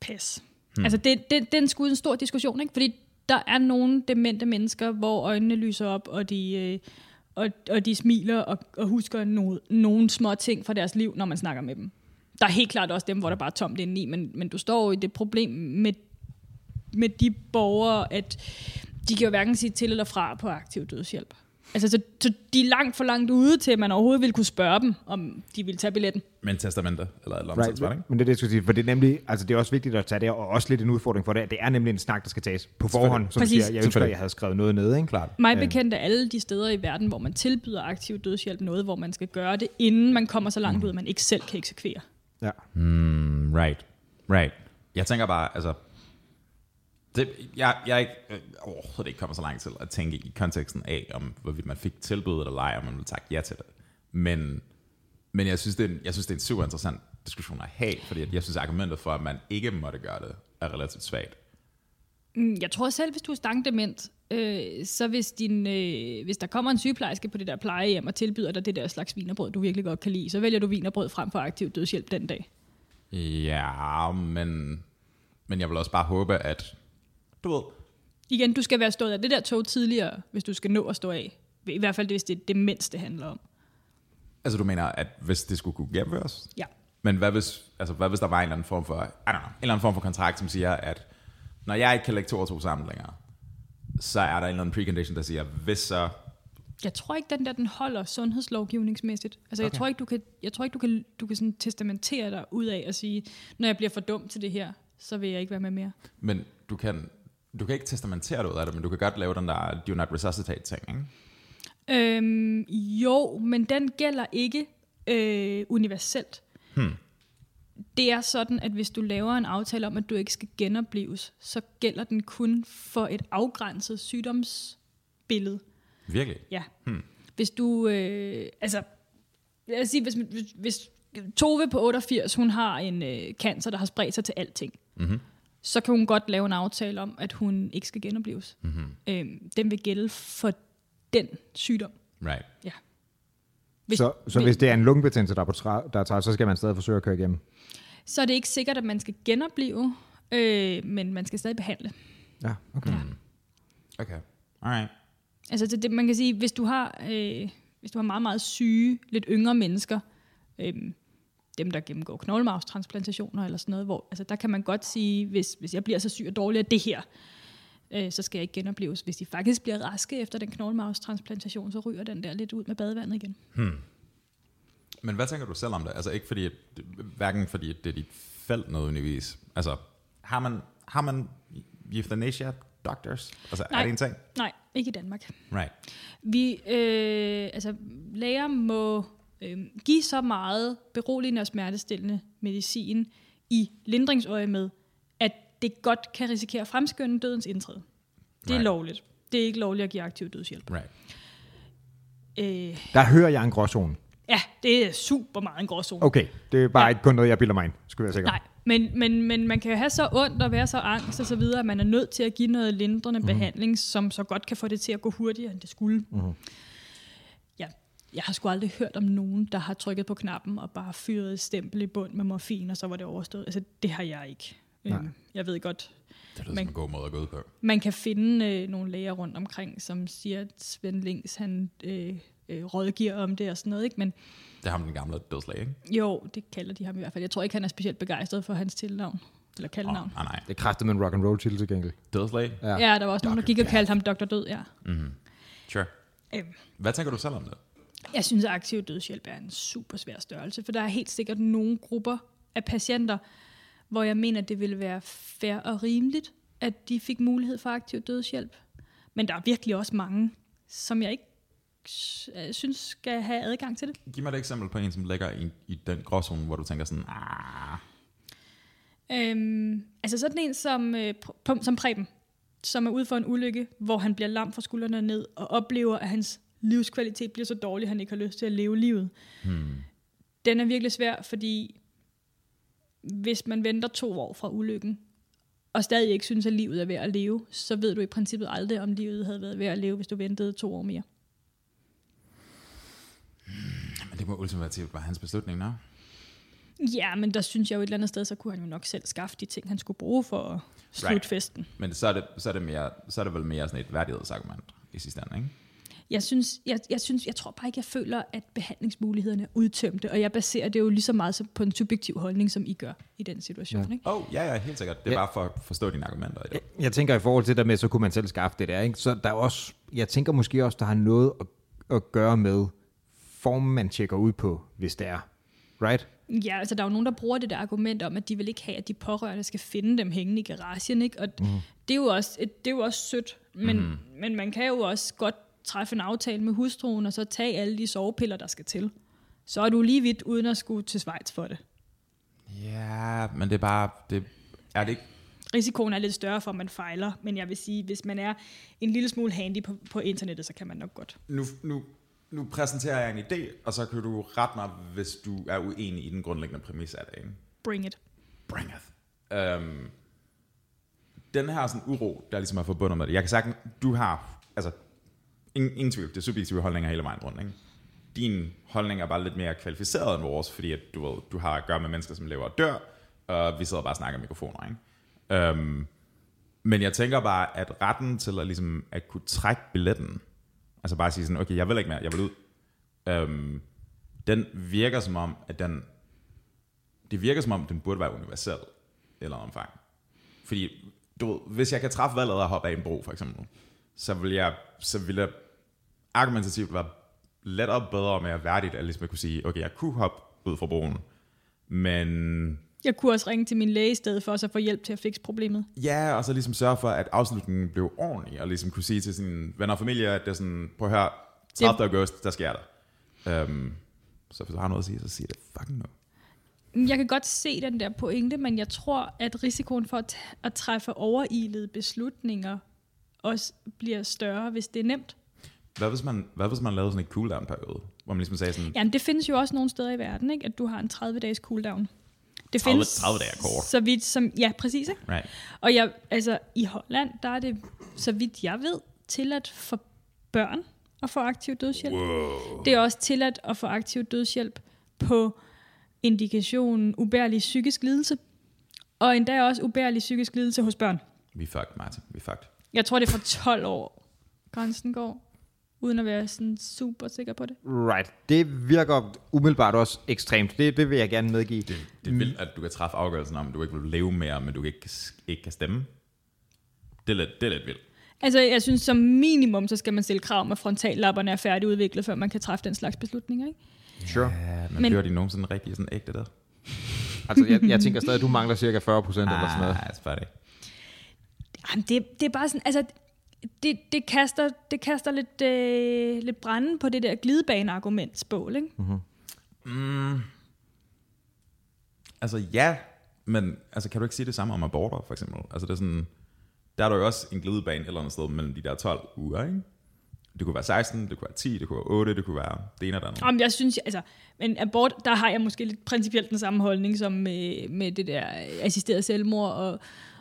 Pas. Hmm. Altså, det, det, den skulle en stor diskussion, ikke? Fordi der er nogle demente mennesker, hvor øjnene lyser op, og de, øh, og, og de smiler og, og husker no, nogle små ting fra deres liv, når man snakker med dem. Der er helt klart også dem, hvor der bare er tomt indeni, men, men du står jo i det problem med, med de borgere, at de kan jo hverken sige til eller fra på aktiv dødshjælp. Altså, så, så de er langt for langt ude til, at man overhovedet vil kunne spørge dem, om de vil tage billetten. Men testamenter, eller et eller andet right. Right. ikke? Men det er det, jeg skulle sige, for det er nemlig, altså det er også vigtigt at tage det, og også lidt en udfordring for det, at det er nemlig en snak, der skal tages på forhånd, som du Præcis. siger, jeg ønsker, at jeg havde skrevet noget ned, ikke? Klart. Mig bekendt er alle de steder i verden, hvor man tilbyder aktiv dødshjælp noget, hvor man skal gøre det, inden man kommer så langt ud, at man ikke selv kan eksekvere. Ja. Right, right. Jeg tænker bare, altså... Det, jeg, jeg er ikke, øh, overhovedet ikke kommet så langt til at tænke i konteksten af, om hvorvidt man fik tilbuddet eller ej, om man ville takke ja til det. Men, men jeg, synes, det er en, jeg synes, det er en super interessant diskussion at have, fordi at jeg synes, argumentet for, at man ikke måtte gøre det, er relativt svagt. Mm, Jeg tror selv, hvis du er stangdement, øh, så hvis, din, øh, hvis der kommer en sygeplejerske på det der plejehjem og tilbyder dig det der slags vinerbrød, du virkelig godt kan lide, så vælger du vinerbrød frem for aktiv dødshjælp den dag. Ja, men, men jeg vil også bare håbe, at du ved, Igen, du skal være stået af det der tog tidligere, hvis du skal nå at stå af. I hvert fald, hvis det er det mindste, det handler om. altså du mener, at hvis det skulle kunne gennemføres, Ja. Men hvad hvis, altså, hvad hvis der var en eller anden form for, I don't know, en eller anden form for kontrakt, som siger, at når jeg ikke kan lægge to og to sammen længere, så er der en eller anden precondition, der siger, hvis så Jeg tror ikke, den der den holder sundhedslovgivningsmæssigt. Altså, okay. jeg tror ikke, du kan, jeg tror ikke, du kan, du kan sådan testamentere dig ud af at sige, når jeg bliver for dum til det her, så vil jeg ikke være med mere. Men du kan, du kan ikke testamentere dig ud af det, men du kan godt lave den der do not resuscitate ting, ikke? Øhm, jo, men den gælder ikke øh, universelt. Hmm. Det er sådan, at hvis du laver en aftale om, at du ikke skal genopleves, så gælder den kun for et afgrænset sygdomsbillede. Virkelig? Ja. Hmm. Hvis du, øh, altså, lad os sige, hvis, hvis, hvis Tove på 88, hun har en øh, cancer, der har spredt sig til alting, Mhm. så kan hun godt lave en aftale om, at hun ikke skal genopleves. Mm-hmm. Øh, den vil gælde for den sygdom. Right. Ja. så, så hvis det er en lungebetændelse, der er, på tra- der er træt, så skal man stadig forsøge at køre igennem. så er det ikke sikkert, at man skal genopleve, øh, men man skal stadig behandle. Ja, okay. Ja. Mm. Okay. Alright. Altså det, det, man kan sige, hvis du har øh, hvis du har meget meget syge, lidt yngre mennesker, øh, dem der gennemgår knoglemarvstransplantationer eller sådan noget, hvor altså der kan man godt sige, hvis hvis jeg bliver så syg og dårlig af det her, øh, så skal jeg ikke genopleves. Hvis de faktisk bliver raske efter den knoglemarvstransplantation, så ryger den der lidt ud med badevandet igen. Men hvad tænker du selv om det? Altså ikke fordi, hverken fordi det er dit felt nødvendigvis. Altså, har man, har man euthanasia doctors? Altså, er Nej. det en ting? Nej, ikke i Danmark. Right. Vi, øh, altså, læger må øh, give så meget beroligende og smertestillende medicin i lindringsøje med, at det godt kan risikere at fremskynde dødens indtræden. Det er Right. lovligt. Det er ikke lovligt at give aktiv dødshjælp. Right. Øh, Der hører jeg en gråzone. ja, det er super meget en gråzone. Okay, det er bare Ja. ja. ikke kun noget, jeg bilder mig ind, skulle jeg sikkert. Nej, men, men, men man kan jo have så ondt og være så angst og så videre, at man er nødt til at give noget lindrende mm. behandling, som så godt kan få det til at gå hurtigere, end det skulle. Mm. Ja, jeg har sgu aldrig hørt om nogen, der har trykket på knappen og bare fyret et stempel i bund med morfin, og så var det overstået. Altså, det har jeg ikke. Nej. Øhm, Jeg ved godt, Det lyder Men- som en god måde at gå ud på. man kan finde øh, nogle læger rundt omkring, som siger, at Svend Lings, han øh, øh, rådgiver om det og sådan noget, ikke? Men Det har ham den gamle dødslæge, ikke? jo, det kalder de ham i hvert fald. Jeg tror ikke, han er specielt begejstret for hans tilnavn, eller Åh, ah, kaldenavn. nej, nej. Det er kraftigt med en rock and roll titel til gengæld. Dødslæge? Ja. Ja, der var også nogen, der gik og kaldte ham Dr. Død, ja. Sure. Øhm, Hvad tænker du selv om det? Jeg synes, at aktiv dødshjælp er en super svær størrelse, for der er helt sikkert nogle grupper af patienter, hvor jeg mener, det ville være fair og rimeligt, at de fik mulighed for aktiv dødshjælp. Men der er virkelig også mange, som jeg ikke s- øh, synes skal have adgang til det. Giv mig et eksempel på en, som ligger i, i den gråzone, hvor du tænker sådan, ah, Øhm, altså sådan en som, øh, pr- pum- som Preben, som er ude for en ulykke, hvor han bliver lam fra skuldrene og ned, og oplever, at hans livskvalitet bliver så dårlig, at han ikke har lyst til at leve livet. Hmm. Den er virkelig svær, fordi hvis man venter to år fra ulykken, og stadig ikke synes, at livet er værd at leve, så ved du i princippet aldrig, om livet havde været værd at leve, hvis du ventede to år mere. men det må ultimativt være hans beslutning, nå? Ja, men der synes jeg jo et eller andet sted, så kunne han jo nok selv skaffe de ting, han skulle bruge for at slutte Right. right. festen. Men så er, det, så, er det mere, så er det vel mere sådan et værdighedsargument i sidste ende, ikke? Jeg synes, jeg, jeg synes, jeg tror bare ikke, jeg føler, at behandlingsmulighederne er udtømte, og jeg baserer det jo lige så meget som- på en subjektiv holdning, som I gør i den situation. Ja. Ikke? Åh, oh, ja, ja, helt sikkert. Det er Ja. bare for at forstå dine argumenter. i det. Jeg tænker i forhold til det der med, så kunne man selv skaffe det der, ikke? Så der er også, jeg tænker måske også, der har noget at, at gøre med formen, man tjekker ud på, hvis det er. Right? Ja, altså der er jo nogen, der bruger det der argument om, at de vil ikke have, at de pårørende skal finde dem hængende i garagen, ikke? og mm. det, er jo også, et- det er jo også sødt, men, mm. men man kan jo også godt træffe en aftale med hustruen, og så tage alle de sovepiller, der skal til. Så er du lige vidt, uden at skulle til Schweiz for det. Ja, men det er bare, det, er det ikke risikoen er lidt større for, at man fejler, men jeg vil sige, hvis man er en lille smule handy på, på internettet, så kan man nok godt. nu, nu, nu præsenterer jeg en idé, og så kan du rette mig, hvis du er uenig i den grundlæggende præmis af det. Ikke? Bring it. Bring it. Øhm, den her sådan uro, der ligesom er forbundet med det. Jeg kan sagtens, du har, altså, ingen, ingen tvivl, det er subjektive holdninger hele vejen rundt. Ikke? Din holdning er bare lidt mere kvalificeret end vores, fordi at, du, ved, du har at gøre med mennesker, som lever og dør, og vi sidder bare og snakker i mikrofoner. Ikke? Øhm, men jeg tænker bare, at retten til at, ligesom, at kunne trække billetten, altså bare sige sådan, okay, jeg vil ikke mere, jeg vil ud, øhm, den virker som om, at den, det virker som om, den burde være universel i et eller andet omfang. Fordi, du ved, hvis jeg kan træffe valget af at hoppe af en bro, for eksempel, så vil jeg, så vil jeg, argumentativt var lettere og bedre og mere værdigt, at ligesom jeg kunne sige, okay, jeg kunne hoppe ud fra broen, men Jeg kunne også ringe til min læge i stedet for, så få hjælp til at fikse problemet. Ja, og så ligesom sørge for, at afslutningen blev ordentlig, og ligesom kunne sige til sine venner og familie, at det er sådan, prøv at høre, 30. august, der sker der. Um, så hvis du har noget at sige, så sig det fucking nu. Jeg kan godt se den der pointe, men jeg tror, at risikoen for at, t- at træffe overilede beslutninger også bliver større, hvis det er nemt. Hvad hvis man, hvad hvis man lavede sådan en cooldown-periode, hvor man ligesom sagde sådan, Jamen, det findes jo også nogle steder i verden, ikke? at du har en 30-dages cooldown. Det 30 30 dage er kort. Så vidt som, ja, præcis. Ikke? right, Og jeg, altså, i Holland, der er det, så vidt jeg ved, tilladt for børn at få aktiv dødshjælp. Wow. Det er også tilladt at få aktiv dødshjælp på indikationen ubærlig psykisk lidelse. Og endda også ubærlig psykisk lidelse hos børn. vi er fucked, Martin, vi er fucked. Jeg tror, det er fra 12 år, grænsen går. Uden at være sådan super sikker på det. Right. Det virker umiddelbart også ekstremt. Det, det vil jeg gerne medgive. Det. Det er Mm. vildt, at du kan træffe afgørelsen om, at du ikke vil leve mere, men du ikke, ikke kan stemme. Det er lidt, det er lidt vildt. Altså, jeg synes, som minimum, så skal man stille krav om, at frontallapperne er færdigudviklet, før man kan træffe den slags beslutninger, ikke? Sure. Ja, men, Men- men gør de nogensinde rigtig sådan ægte der? Altså, jeg, jeg tænker stadig, at du mangler cirka 40 procent eller sådan noget. Ah, det er det. Jamen, det, det er bare sådan, altså, det, det kaster, det kaster lidt, øh, lidt branden på det der glidebane-argumentsbål, ikke? Mm. Altså ja, men altså, kan du ikke sige det samme om aborter, for eksempel? Altså det er sådan, der er der jo også en glidebane et eller andet sted mellem de der 12 uger, ikke? Det kunne være 16, det kunne være 10, det kunne være 8, det kunne være det ene og det andet. Om jeg synes, altså, men abort, der har jeg måske lidt principielt den samme holdning som med, med det der øh, assisteret selvmord og,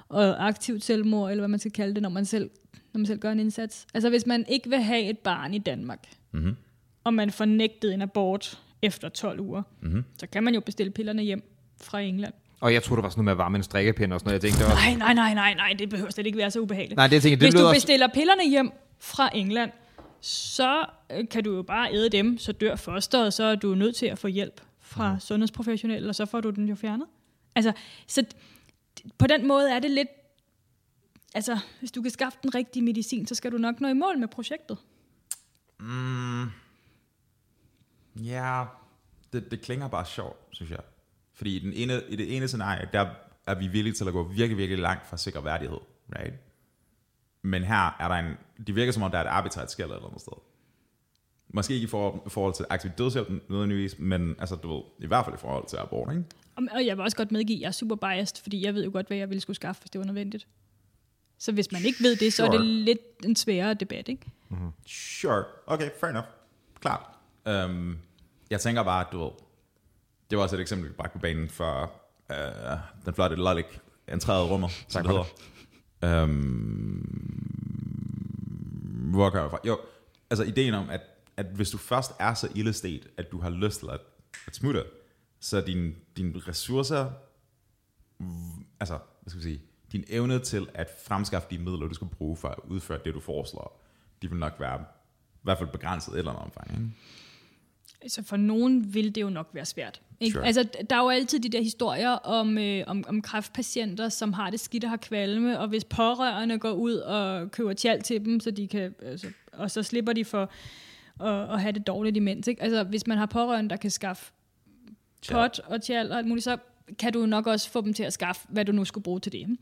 og aktivt selvmord, eller hvad man skal kalde det, når man selv, når man selv gør en indsats. Altså, hvis man ikke vil have et barn i Danmark, mm-hmm. og man fornægtede en abort efter 12 uger, mm-hmm. så kan man jo bestille pillerne hjem fra England. Og jeg troede, det var sådan noget med at varme en strikkepind og sådan noget. Jeg tænkte, det var... Nej, nej, nej, nej, nej, det behøver slet ikke være så ubehageligt. Nej, det tænker jeg, det Hvis lyder du også- bestiller pillerne hjem fra England, så øh, kan du jo bare æde dem, så dør fosteret, så er du nødt til at få hjælp fra mm. sundhedsprofessionelle, og så får du den jo fjernet. Altså, så d- på den måde er det lidt, altså, hvis du kan skaffe den rigtige medicin, så skal du nok nå i mål med projektet. Mm. Ja, det, det klinger bare sjovt, synes jeg. Fordi i, den ene, i det ene scenarie, der er vi villige til at gå virkelig, virkelig langt fra sikker værdighed. Right? Men her er der en... Det virker som om, der er et arbitrært skæld et eller andet sted. Måske ikke i forhold, forhold til aktiv dødshjælp nødvendigvis, men altså, du ved, i hvert fald i forhold til abort, ikke? Og og jeg vil også godt medgive, at jeg er super biased, fordi jeg ved jo godt, hvad jeg ville skulle skaffe, hvis det var nødvendigt. Så hvis man ikke ved det, så er det Sure. lidt en sværere debat, ikke? Sure. Okay, fair enough. Klart. Um, jeg tænker bare, at du ved, det var også et eksempel, vi bragte på banen for uh, den flotte Lollik, entreret rummer, som det hedder. Um, hvor kan jeg fra? Jo, altså ideen om, at, at hvis du først er så ildestet, at du har lyst til at, at smutte, så er dine din ressourcer, v- altså, hvad skal vi sige, din evne til at fremskaffe de midler, du skal bruge for at udføre det, du foreslår, de vil nok være i hvert fald begrænset i et eller andet omfang. Ikke? Altså for nogen vil det jo nok være svært. Ikke? Sure. Sure. Altså, der er jo altid de der historier om, øh, om, om kræftpatienter, som har det skidt og har kvalme, og hvis pårørende går ud og køber tjal til dem, så de kan, altså, og så slipper de for at, at have det dårligt imens. Ikke? Altså, hvis man har pårørende, der kan skaffe Tjal. pot og tjal og alt muligt, så kan du nok også få dem til at skaffe, hvad du nu skulle bruge til det. ikke?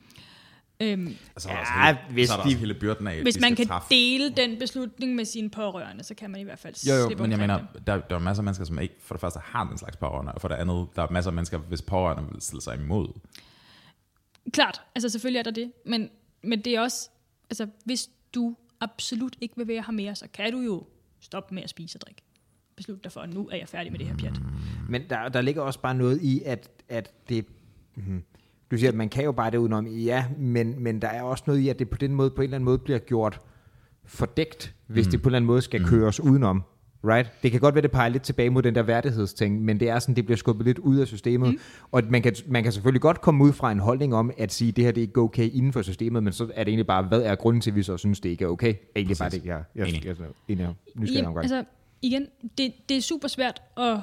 Øhm, Og så er der, Ja, også, hele, hvis så er der de- også hele byrden af, at hvis de man skal kan træffe. dele den beslutning med sine pårørende, så kan man i hvert fald Jo, jo, slippe men jeg omkring mener, dem. der, der er masser af mennesker, som ikke for det første har den slags pårørende, og for det andet, der er masser af mennesker, hvis pårørende vil stille sig imod. Klart, altså selvfølgelig er der det, men, men det er også, altså hvis du absolut ikke vil være her mere, så kan du jo stoppe med at spise og drikke. Beslut dig for, at nu er jeg færdig med det her pjat. Mm. Men der, der ligger også bare noget i, at, at det... Mhm. Du siger, at man kan jo bare det udenom. Ja, men, men der er også noget i, at det på den måde, på en eller anden måde bliver gjort fordækt, hvis mm. det på en eller anden måde skal mm. køres udenom. Right? Det kan godt være, det peger lidt tilbage mod den der værdighedsting, men det er sådan, det bliver skubbet lidt ud af systemet. Mm. Og at man kan, man kan selvfølgelig godt komme ud fra en holdning om at sige, det her det er ikke okay inden for systemet, men så er det egentlig bare, hvad er grunden til, at vi så synes, det ikke er okay? Er egentlig bare Præcis. det, jeg, jeg, jeg, Enig. jeg, jeg, jeg, nysgerrig omgang. altså igen, det, det er super svært at,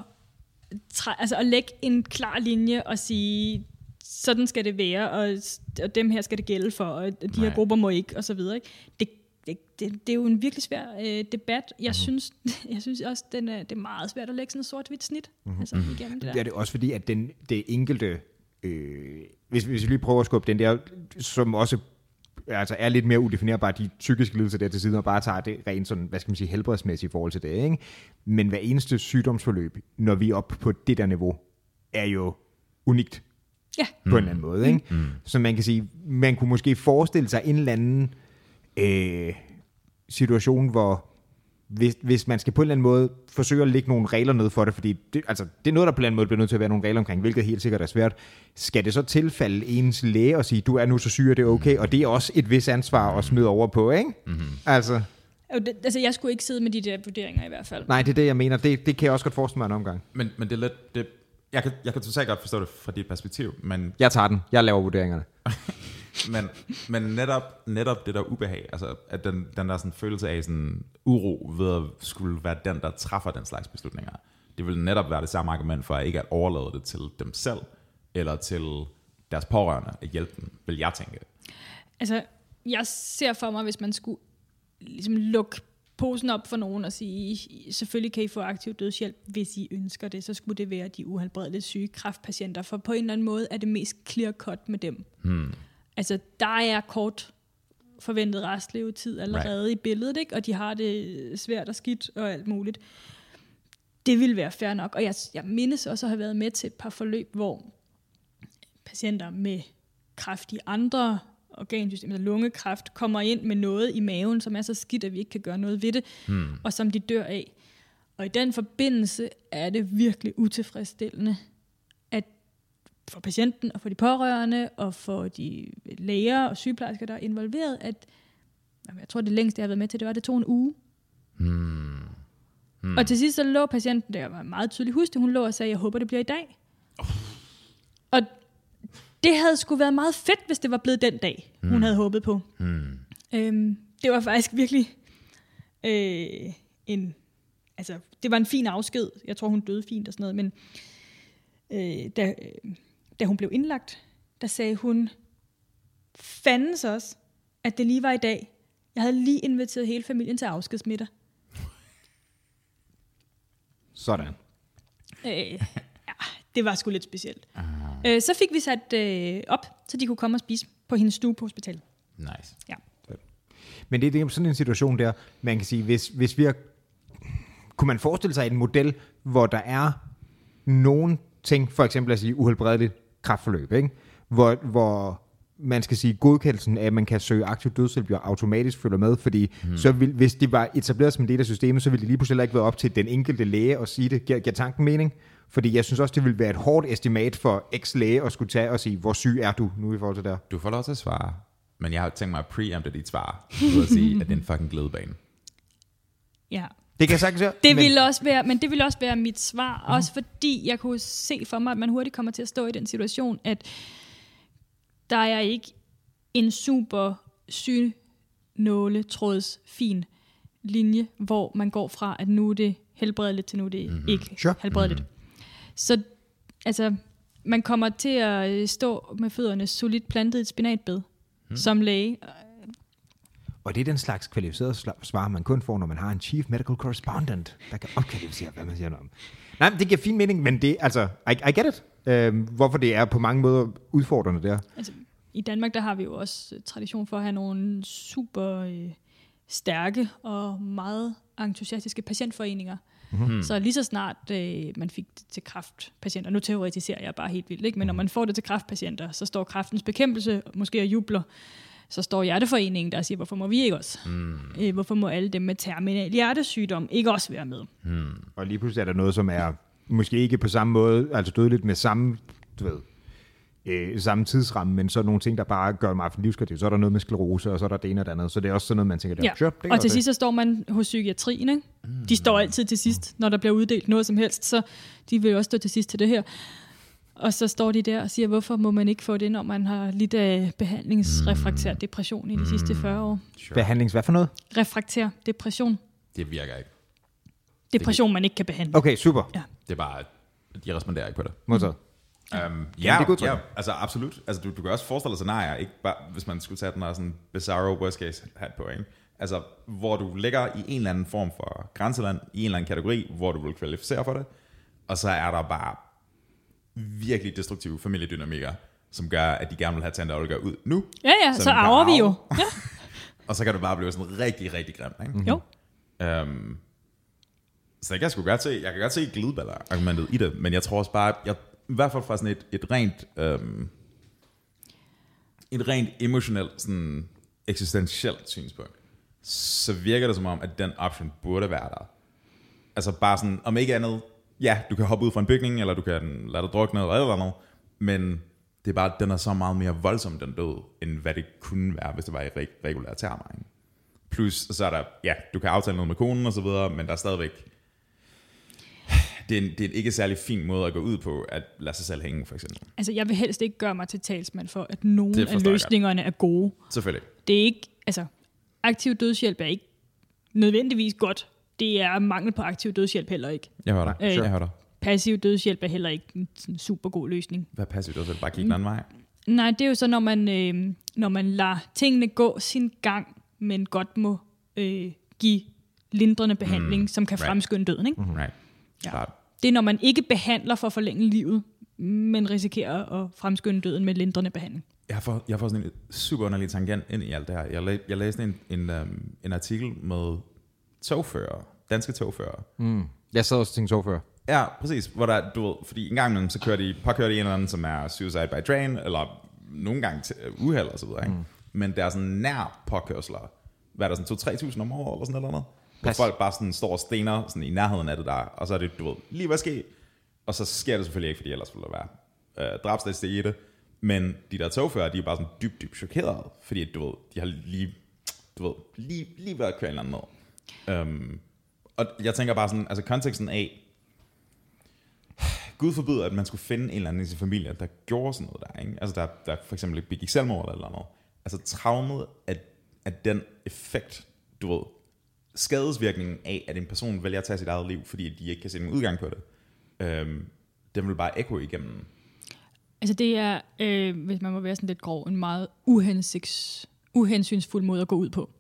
træ, altså, at lægge en klar linje og sige, sådan skal det være, og, og dem her skal det gælde for, og de Nej. Nej. her grupper må ikke, og så videre. Ikke? Det det, det, det er jo en virkelig svær øh, debat. Jeg, mm. synes, [laughs] jeg synes også, den er, det er meget svært at lægge sådan et sort-hvidt snit. Mm. Altså, igennem det der. Det er det også fordi, at den, det enkelte, øh, hvis, hvis vi lige prøver at skubbe den der, som også altså er lidt mere udefinerbar, de psykiske lidelser der til siden, og bare tager det rent sådan, hvad skal man sige, helbredsmæssigt i forhold til det, ikke? Men hver eneste sygdomsforløb, når vi er oppe på det der niveau, er jo unikt Ja, på en eller anden måde. Ikke? Mm. Så man kan sige, man kunne måske forestille sig en eller anden øh, situation, hvor hvis, hvis man skal på en eller anden måde forsøge at lægge nogle regler ned for det, fordi det, altså, det er noget, der på en eller anden måde bliver nødt til at være nogle regler omkring, hvilket helt sikkert er svært. Skal det så tilfalde ens læge og sige, du er nu så syg, og det er okay, og det er også et vis ansvar at smide over på, ikke? Mm. Mm-hmm. Altså, Og det- altså jeg skulle ikke sidde med de der vurderinger i hvert fald. nej, det er det, jeg mener. Det, det kan jeg også godt forestille mig en omgang. Men, men det er lidt... Det, jeg, kan, jeg kan totalt godt forstå det fra dit perspektiv, men, Jeg tager den. Jeg laver vurderingerne. men, men netop, netop det der ubehag, altså at den, den der sådan følelse af sådan uro ved at skulle være den, der træffer den slags beslutninger, det vil netop være det samme argument for at ikke at overlade det til dem selv, eller til deres pårørende at hjælpe dem, vil jeg tænke. Altså, jeg ser for mig, hvis man skulle ligesom lukke posen op for nogen og sige, "I- selvfølgelig kan I få aktiv dødshjælp, hvis I ønsker det, så skulle det være de uhelbredeligt syge kræftpatienter, for på en eller anden måde er det mest clear cut med dem. Hmm. Altså, der er kort forventet restlevetid allerede right. i billedet, ikke? og de har det svært og skidt og alt muligt. Det ville være fair nok, og jeg, jeg mindes også at have været med til et par forløb, hvor patienter med kræft i andre organsystemer, altså lungekræft, kommer ind med noget i maven, som er så skidt, at vi ikke kan gøre noget ved det, hmm. og som de dør af. Og i den forbindelse er det virkelig utilfredsstillende, at for patienten og for de pårørende og for de læger og sygeplejersker, der er involveret, at jamen, jeg tror, det længste, jeg har været med til, det var, det tog en uge. Hmm. Hmm. Og til sidst så lå patienten, der var meget tydeligt husket, hun lå og sagde, jeg håber, det bliver i dag. Og det havde sgu været meget fedt, hvis det var blevet den dag, mm. hun havde håbet på. Mm. Hmm, Øhm, det var faktisk virkelig øh, en... Altså, det var en fin afsked. Jeg tror, hun døde fint og sådan noget, men øh, da, øh, da hun blev indlagt, der sagde hun, fandens også, at det lige var i dag. Jeg havde lige inviteret hele familien til afskedsmiddag. Sådan. Øh, ja, det var sgu lidt specielt. Øh, så fik vi sat øh, op, så de kunne komme og spise på hendes stue på hospitalet. Nice. Ja. Men det, det er sådan en situation der, man kan sige, hvis, hvis vi har, kunne man forestille sig en model, hvor der er nogen ting, for eksempel at sige uhelbredeligt kraftforløb, ikke? Hvor, hvor man skal sige, godkendelsen af, at man kan søge aktiv dødshjælp, jo automatisk følger med, fordi hmm. så vil, hvis de var etableret som en del af systemet, så ville det lige pludselig heller ikke være op til den enkelte læge at sige det. Giver, giver tanken mening? Fordi jeg synes også, det ville være et hårdt estimat for x læge at skulle tage og sige, hvor syg er du nu i forhold til der? Du får lov til at svare, men jeg har tænkt mig at preempte dit svar, ved at sige, at det er en fucking glidebane. ja. Det kan jeg sagtens høre, Det men- Mhm. ville også være, men det ville også være mit svar, mm. også fordi jeg kunne se for mig, at man hurtigt kommer til at stå i den situation, at der er ikke en super syg nåletråds fin linje, hvor man går fra, at nu er det helbredeligt, til nu er det mm-hmm. ikke Mhm. Sure. sure. helbredeligt. Mm. Så altså, man kommer til at øh, stå med fødderne solidt plantet i et spinatbed Mhm. mm. som læge. Og det er den slags kvalificerede sla- svar, man kun får, når man har en chief medical correspondent, der kan opkvalificere, hvad man siger om. Nej, men det giver fin mening, men det altså, I, I get it. Øhm, hvorfor det er på mange måder udfordrende der. Altså, I Danmark, der har vi jo også øh, tradition for at have nogle super øh, stærke og meget entusiastiske patientforeninger. Mm-hmm. Så lige så snart øh, man fik det til kraftpatienter, nu teoretiserer jeg bare helt vildt, ikke? men når man får det til kraftpatienter, så står kraftens bekæmpelse måske og jubler. Så står Hjerteforeningen der og siger, hvorfor må vi ikke også? Mm. Øh, hvorfor må alle dem med terminal hjertesygdom ikke også være med? Og lige pludselig er der noget, som er måske ikke på samme måde, altså dødeligt med samme, du ved, øh, samme tidsramme, men så nogle ting, der bare gør mig for livskvalitet. Så er der noget med sklerose, og så er der det ene og det andet. Så det er også sådan noget, man tænker, der, Ja, sure, det kan og til godt være. sidst så står man hos psykiatrien, ikke? De står altid til sidst, når der bliver uddelt noget som helst, så de vil jo også stå til sidst til det her. Og så står de der og siger, hvorfor må man ikke få det, når man har lidt af behandlingsrefraktær depression i de sidste 40 år. Behandlings, hvad for noget? Refraktær depression. Det virker ikke. Depression, man ikke kan behandle. Okay, super. Ja. Det er bare, de responderer ikke på det. Modtaget. Um, det ja, er godt, tror ja, jeg. altså absolut. Altså, du, du kan også forestille dig scenarier, ikke bare, hvis man skulle tage den her sådan bizarro worst case hat på, ikke? Altså, hvor du ligger i en eller anden form for grænseland, i en eller anden kategori, hvor du vil kvalificere for det. Og så er der bare virkelig destruktive familiedynamikker, som gør, at de gerne vil have Tante Olga ud nu. Ja, ja, så den kan arver vi jo. arve. Ja. Og så kan det bare blive sådan rigtig, rigtig grimt. Ikke? Jo. Øhm, så jeg kan sgu godt se, jeg kan godt se glideballer-argumentet i det, men jeg tror også bare, jeg, i hvert fald fra sådan et, et rent, øhm, et rent emotionelt, sådan eksistentielt synspunkt, så virker det som om, at den option burde være der. Altså bare sådan, om ikke andet, ja, du kan hoppe ud fra en bygning, eller du kan lade dig drukne, eller et eller andet, men det er bare, at den er så meget mere voldsom, den død, end hvad det kunne være, hvis det var i reg- regulære termer. Ikke? Plus, så er der, ja, du kan aftale noget med konen og så videre, men der er stadigvæk, det er, en, det er en ikke særlig fin måde at gå ud på, at lade sig selv hænge, for eksempel. Altså, jeg vil helst ikke gøre mig til talsmand for, at nogen Det forstår jeg af løsningerne er gode. Selvfølgelig. Det er ikke, altså, aktiv dødshjælp er ikke nødvendigvis godt. Det er mangel på aktiv dødshjælp heller ikke. Jeg hører dig. Øh, Jeg hører dig. Passiv dødshjælp er heller ikke en sådan, super god løsning. Hvad passer du selv? Bare kigge den anden vej. Nej, det er jo så, når man, øh, når man lader tingene gå sin gang, men godt må øh, give lindrende behandling, mm, som kan right. Mm. fremskynde døden. Ikke? Right. Ja. Klart. Det er, når man ikke behandler for at forlænge livet, men risikerer at fremskynde døden med lindrende behandling. Jeg får, jeg får sådan en super underlig tangent ind i alt det her. Jeg, læ- jeg læste en, en, um, en artikel med togfører, danske togfører, Mm. Jeg sad også og tænkte så før. Ja, præcis. Hvor der, du ved, fordi en gang imellem, så kører de, påkører de en eller anden, som er suicide by train, eller nogle gange til øh, uheld og så videre. Ikke? Mm. Men der er sådan nær påkørsler. Hvad er der, sådan 2-3.000 om året, eller sådan noget eller andet? Hvor Pas. folk bare sådan står og stener sådan i nærheden af det der, og så er det, du ved, lige hvad sker? Og så sker det selvfølgelig ikke, fordi ellers ville der være øh, drabsdagsdag i det. Men de der togfører, de er bare sådan dybt, dybt chokerede, fordi du ved, de har lige, du ved, lige, lige været at køre en eller anden måde. Øhm, og jeg tænker bare sådan, altså konteksten af, Gud forbyder, at man skulle finde en eller anden i sin familie, der gjorde sådan noget der, ikke? Altså der, der for eksempel ikke begik selvmord eller noget. Altså traumet af, af den effekt, du ved, skadesvirkningen af, at en person vælger at tage sit eget liv, fordi de ikke kan se nogen udgang på det, øhm, den vil bare ekko igennem. Altså det er, øh, hvis man må være sådan lidt grov, en meget uhensigs, uhensynsfuld måde at gå ud på.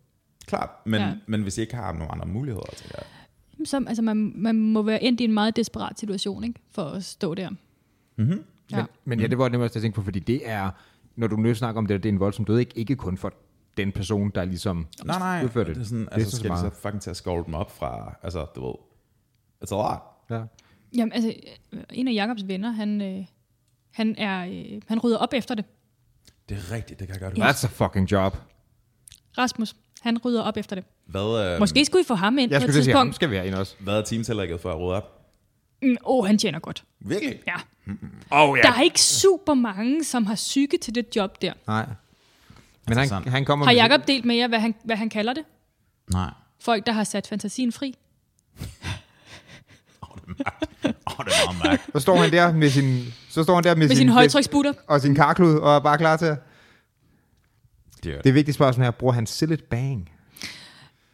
Klart, men, Ja. ja. men hvis I ikke har nogen andre muligheder, tænker jeg. Jamen, Så, altså man, man må være endt i en meget desperat situation, ikke? For at stå der. Mm-hmm. Ja. Men, men ja, det var nemlig også det, jeg tænkte på, fordi det er, når du nu snakker om det, det er en voldsom død, ikke, ikke kun for den person, der ligesom Nej, nej, udfører det. det er sådan, det er altså, sådan skal de så så meget. fucking til at skovle dem op fra, altså, du ved, it's a lot. Ja. Jamen, altså, øh, en af Jacobs venner, han, øh, han, er, øh, han rydder op efter det. Det er rigtigt, det kan jeg godt huske. That's a fucking job. Rasmus, han rydder op efter det. Hvad, øh, Måske skulle I få ham ind Øhm, Jeg på et skulle lige sige, ham tidspunkt. skal vi have ind også. hvad er teamtillægget for at rydde op? Åh, mm, oh, han tjener godt. Virkelig? Ja. Oh, ja. Der er ikke super mange, som har psyke til det job der. Nej. Men han, Interessant. han kommer Har med- Jacob delt med jer, hvad han, hvad han kalder det? Nej. Folk, der har sat fantasien fri. Altså, Åh, oh, det er meget mærkeligt. Så står han der med sin, så står han der med, Med sin sine højtryksbutter. og sin karklud og er bare klar til at... Det er Det vigtige spørgsmål er, bruger han sillet bang?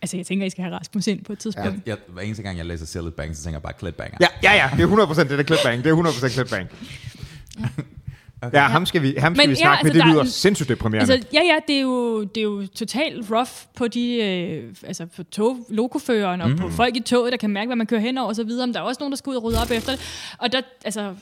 Altså, jeg tænker, I skal have Rasmus ind på et tidspunkt. Jeg, jeg, hver eneste gang, jeg læser Silly Bang, så tænker jeg bare klædbanger. Ja, ja, ja, det er 100% det der clipbang. Det er 100% clipbang. Okay. Ja, ham skal vi, ham skal Men vi ja, snakke altså, med. Det der er lyder en- sindssygt deprimerende. Altså, ja, ja, det er jo, det er jo totalt rough på de, øh, altså på tog, lokoføreren og mm. på folk i toget, der kan mærke, hvad man kører hen over og så videre. Men der er også nogen, der skal ud og rydde op efter det. Og der, altså,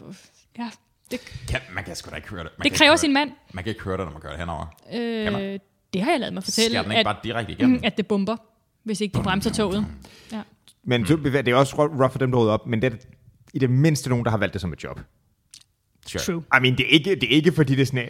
ja, det, Kan, man kan sgu da ikke høre det. Man det kan kræver ikke sin høre, mand. Man kan ikke høre det, når man kører det henover. Kan Øh, man? det har jeg lavet mig fortælle, Skærer den ikke at, bare direkte igennem? mm, at det bomber, hvis ikke de bremser toget. Ja. Men mm. det er også rough for dem, der rydder op, men det er i det mindste nogen, der har valgt det som et job. Sure. True. I mean, det er ikke, det er ikke fordi det er sådan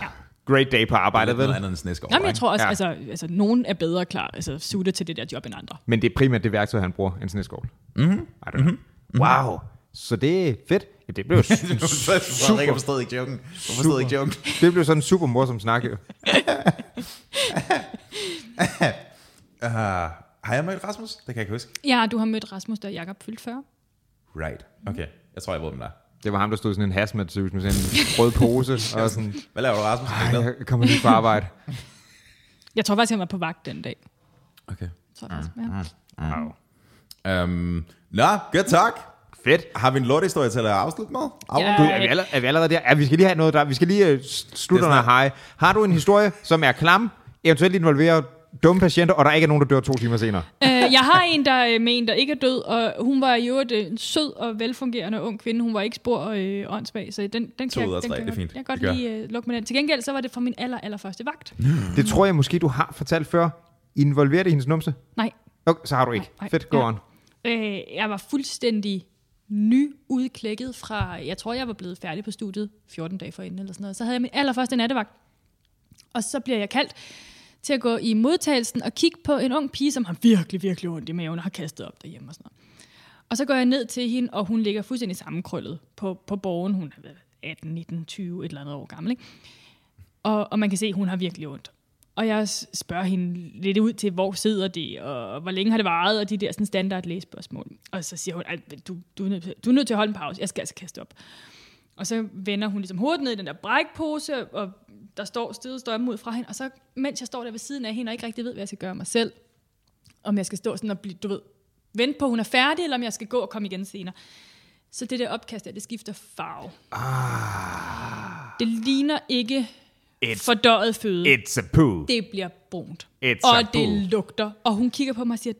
en great day på Det er arbejdet, lidt noget vel? andet end snæsk over, Jamen, [laughs] jeg tror også, Ja. ja. altså, altså, nogen er bedre klar, altså suited til det der job end andre. Men det er primært det værktøj, han bruger, en sneskål. Mm-hmm. Mm-hmm. Wow. Så det er fedt. Ja, det [laughs] blev ikke? Frederik, jeg forstod ikke joken. Jeg forstod ikke joken. det blev sådan en super morsom snak. jo. Uh, har jeg mødt Rasmus? Det kan jeg ikke huske. Ja, du har mødt Rasmus, der Jakob fyldt 40. Right. Okay, jeg tror, jeg ved, hvem der er. Det var ham, der stod i sådan en hazmat suit med sådan en rød pose. og sådan, Hvad laver du, Rasmus? Er du glad? Ej, jeg kommer lige fra arbejde. Jeg tror faktisk, han var på vagt den dag. Okay. Tror jeg mm. faktisk, ja. Wow. Um, Nå, good talk. Fedt. Har vi en lortehistorie til at afslutte med? Af- Ja. Gud, er, vi allerede, er vi allerede der? Ja, vi skal lige øh, have noget der. Vi skal lige uh, slutte under hej. Har du en historie, som er klam, eventuelt involverer dumme patienter, og der ikke er nogen, der dør to timer senere. Øh, jeg har en der øh, med en, der ikke er død, og hun var jo en sød og velfungerende ung kvinde. Hun var ikke spor og øh, åndssvag, så den, den kan To jeg, ud af den tre, kan det er jeg, fint. godt- jeg kan Det godt gør. lige øh, lukke med den. Til gengæld så var det fra min aller, allerførste vagt. Det tror jeg måske, du har fortalt før. Involveret i hendes numse? Nej, Okay, så har du ikke. Nej, nej, Fedt, go ja. on. øh, jeg var fuldstændig nyudklækket fra, jeg tror jeg var blevet færdig på studiet 14 dage forinden eller sådan noget. Så havde jeg min allerførste nattevagt, og så bliver jeg kaldt til at gå i modtagelsen og kigge på en ung pige, som har virkelig, virkelig ondt i maven og har kastet op derhjemme og sådan noget. Og så går jeg ned til hende, og hun ligger fuldstændig sammenkrøllet på, på borgen. Hun er hvad, 18, 19, 20, et eller andet år gammel. Ikke? Og, og man kan se, at hun har virkelig ondt. Og jeg s- spørger hende lidt ud til, hvor sidder det, og hvor længe har det varet, og de der sådan standard lægespørgsmål. Og så siger hun, at du, du, er nødt til- du er nødt til at holde en pause, jeg skal altså kaste op. Og så vender hun ligesom hovedet ned i den der brækpose, og der står stedet strømme ud fra hende. Og så, mens jeg står der ved siden af hende, og ikke rigtig ved, hvad jeg skal gøre mig selv, om jeg skal stå sådan og blive, du ved, vente på, at hun er færdig, eller om jeg skal gå og komme igen senere. Så det der opkast der, det skifter farve. Ah. Det ligner ikke It's- fordøjet føde. It's a poo. Det bliver brunt. It's a og det boo. lugter. Og hun kigger på mig og siger,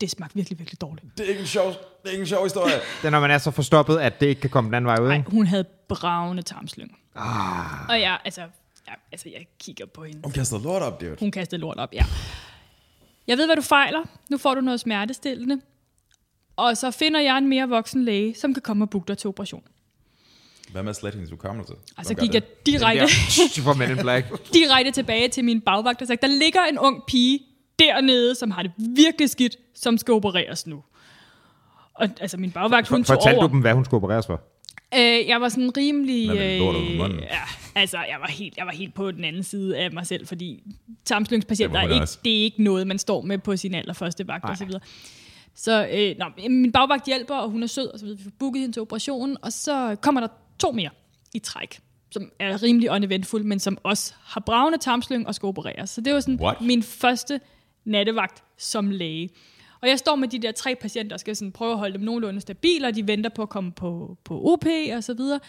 det smagte virkelig, virkelig dårligt. Det er ikke en sjov, det er ikke en sjov historie. Det er, når man er så forstoppet, at det ikke kan komme den anden vej ud. Nej, ikke? hun havde bravende tarmslyng. Ah. Og jeg, altså, jeg, altså, jeg kigger på hende. Hun kaster lort op, dude. Hun kastede lort op, ja. Jeg ved, hvad du fejler. Nu får du noget smertestillende. Og så finder jeg en mere voksen læge, som kan komme og booke dig til operation. Hvad med at slette hendes hukommelse? Og så Hvem gør gik det? jeg direkte, Der, tss, for Men in Black. [laughs] direkte tilbage til min bagvagt og sagde, der ligger en ung pige dernede, som har det virkelig skidt, som skal opereres nu. Og altså, min bagvagt, hun tog Fortalte over. du dem, hvad hun skulle opereres for? Øh, jeg var sådan rimelig... øh, Hvad med lortet på munden? ja, altså, jeg var, helt, jeg var helt på den anden side af mig selv, fordi Det tarmslyngspatienter var er hun ikke, også. det er ikke noget, man står med på sin allerførste vagt og så videre. Så øh, nå, min bagvagt hjælper, og hun er sød, og så videre. Vi får booket hende til operationen, og så kommer der to mere i træk, som er rimelig uneventful, men som også har bravende tarmslyng og skal opereres. Så det var sådan What? min første nattevagt som læge. Og jeg står med de der tre patienter, og skal sådan prøve at holde dem nogenlunde stabile, og de venter på at komme på, på OP og så videre.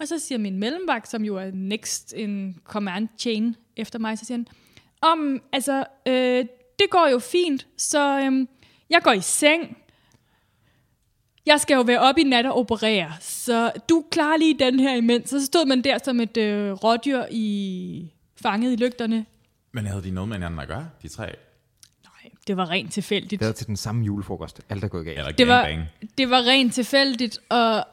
Og så siger min mellemvagt, som jo er next in command chain efter mig, så siger han, om, altså, øh, det går jo fint, så øhm, jeg går i seng. Jeg skal jo være oppe i nat og operere, så du klarer lige den her imens. Så stod man der som et øh, rådyr i fanget i lygterne. Men havde de noget med hinanden at gøre, de tre? Nej, det var rent tilfældigt. Det er til den samme julefrokost. Alt er gået galt. Eller det var, gangbang? det var rent tilfældigt, og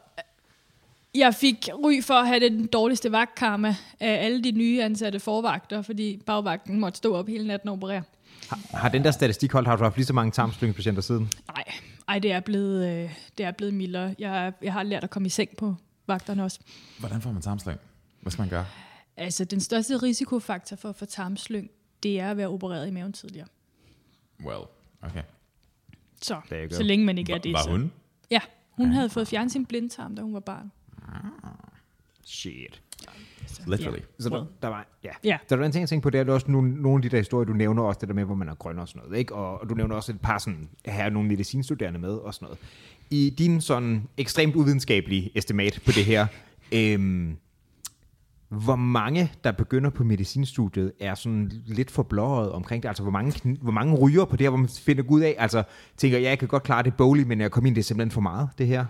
jeg fik ry for at have den dårligste vagtkarma af alle de nye ansatte forvagter, fordi bagvagten måtte stå op hele natten og operere. Har, har den der statistik holdt? Har du haft lige så mange tarmslyngpatienter siden? Nej, ej, det er blevet, øh, det er blevet mildere. Jeg, jeg har lært at komme i seng på vagterne også. Hvordan får man tarmslæng? Hvad skal man gøre? Altså, den største risikofaktor for at få tarmslyng, det er at være opereret i maven tidligere. Well, okay. Så, There you go. så længe man ikke er Var, det. var så- hun? Ja, hun havde fået fjernet sin blindtarm, da hun var barn. Shit. Så, Literally. Ja. Så der, Well. der var, ja. Ja. Der var en ting, jeg tænkte på, det er at også nogle, nogle af de der historier, du nævner også, det der med, hvor man er grøn og sådan noget, ikke? Og, og du nævner også et par sådan, her er nogle medicinstuderende med og sådan noget. I din sådan ekstremt uvidenskabelige estimat på det her, [laughs] øhm, hvor mange, der begynder på medicinstudiet, er sådan lidt forblåret omkring det? Altså, hvor mange, kn- hvor mange ryger på det her, hvor man finder ud af, altså, tænker, ja, jeg kan godt klare det bogligt, men jeg kommer ind, det er simpelthen for meget, det her.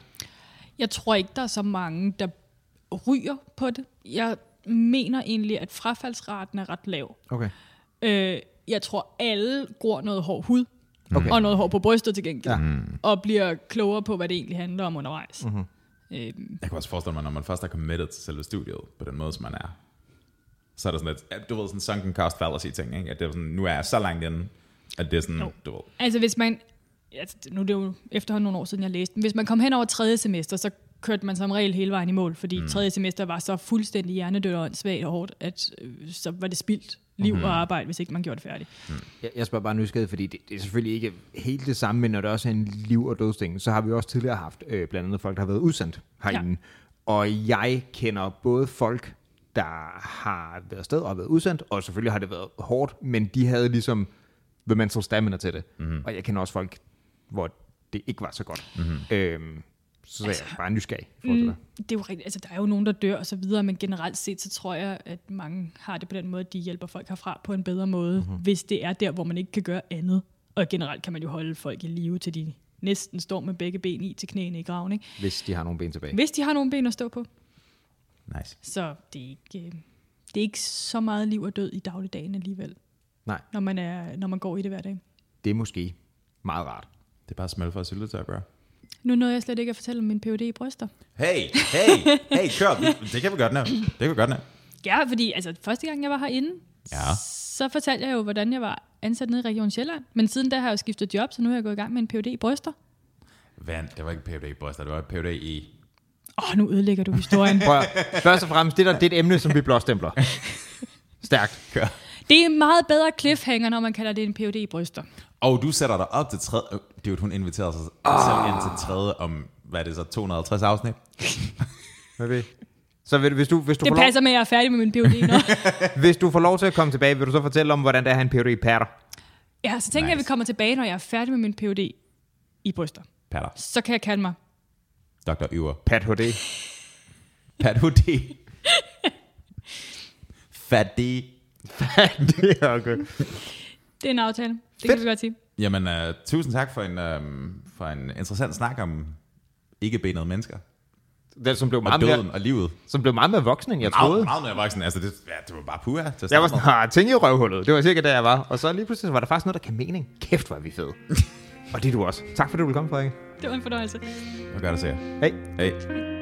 Jeg tror ikke, der er så mange, der ryger på det. Jeg mener egentlig, at frafaldsraten er ret lav. Okay. Øh, jeg tror, alle gror noget hård hud, Okay. okay. og noget hår på brystet til gengæld, Ja. ja. og bliver klogere på, hvad det egentlig handler om undervejs. Mm-hmm. Øh, Jeg kan også forestille mig, når man først er committed til selve studiet, på den måde, som man er, så er der sådan et, du ved, sådan en sunken cost fallacy ting, ikke? At det er sådan, nu er jeg så langt inde, at det er sådan, Jo. du ved, altså hvis man, altså, nu er det jo efterhånden nogle år siden, jeg læste den, hvis man kom hen over tredje semester, så kørte man som regel hele vejen i mål, fordi mm. tredje semester var så fuldstændig hjernedødt og svagt og hårdt, at øh, så var det spildt liv mm. og arbejde, hvis ikke man gjorde det færdigt. Jeg, jeg spørger bare nysgerrigt, fordi det, det er selvfølgelig ikke helt det samme, men når det også er en liv- og dødsting, så har vi også tidligere haft øh, blandt andet folk, der har været udsendt herinde. Ja. Og jeg kender både folk, der har været afsted og har været udsendt, og selvfølgelig har det været hårdt, men de havde ligesom the Mhm. mental stamina til det. Mm-hmm. Og jeg kender også folk, hvor det ikke var så godt. Mm-hmm. Øhm, Så Mhm. altså, jeg er bare nysgerrig i forhold til dig. Det er jo rigtigt, altså der er jo nogen, der dør og så videre, men generelt set, så tror jeg, at mange har det på den måde, at de hjælper folk herfra på en bedre måde, mm-hmm. hvis det er der, hvor man ikke kan gøre andet. Og generelt kan man jo holde folk i live, til de næsten står med begge ben i til knæene i graven, ikke? Hvis de har nogle ben tilbage. Hvis de har nogle ben at stå på. Nice. Så det er ikke, øh, det er ikke så meget liv og død i dagligdagen alligevel, Nej, når man, er, når man går i det hver dag. det er måske meget rart. Det er bare smølfer og syltetøj, bro. Nu nåede jeg slet ikke at fortælle om min PhD i bryster. Hey, hey, hey, kør. Vi- Det kan vi godt nå. Det kan vi godt nå. Ja, fordi altså, første gang, jeg var herinde, Ja. så fortalte jeg jo, hvordan jeg var ansat nede i Region Sjælland. Men siden da har jeg jo skiftet job, så nu er jeg gået i gang med en PhD i bryster. Vand, det var ikke PhD i bryster, det var PhD i... Åh, oh, nu ødelægger du historien. Prøv at, [laughs] høre. først og fremmest, det, der, det er et emne, som vi [laughs] blåstempler. Stærkt. Kør. det er en meget bedre cliffhanger, når man kalder det en PhD i bryster. Og du sætter dig op til tredje... Øh, Det er jo, hun inviterer sig selv ind Ah. til tredje om, hvad er det så, 250 afsnit? Hvad ved I? Så vil, du- hvis, du, hvis, du Det får lov, passer med, at jeg er færdig med min PhD nu. hvis du får lov til at komme tilbage, vil du så fortælle om, hvordan det er at have en PhD i patter? Ja, så tænker nice. jeg, at vi kommer tilbage, når jeg er færdig med min PhD i bryster. Patter. Så kan jeg kalde mig. Dr. Yver. Pat [laughs] HD. Pat [laughs] Hudi. Fat D. det er okay. Det er en aftale. Det Fedt. kan vi godt sige. Jamen, uh, tusind tak for en, um, for en interessant snak om ikke-benede mennesker. Den, som blev Og meget døden mere, og livet. som blev meget mere voksen, end jeg troede. Meget, meget mere voksen. Altså, det, ja, det var bare puha til at Jeg var starte med. sådan, har ting i røvhullet. Det var cirka der, jeg var. Og så lige pludselig så var der faktisk noget, der kan mening. Kæft, hvor er [laughs] vi fede. og det er du også. Tak fordi du ville komme, Frederik. Det var en fornøjelse. Det var godt at se jer. Hej. Hej.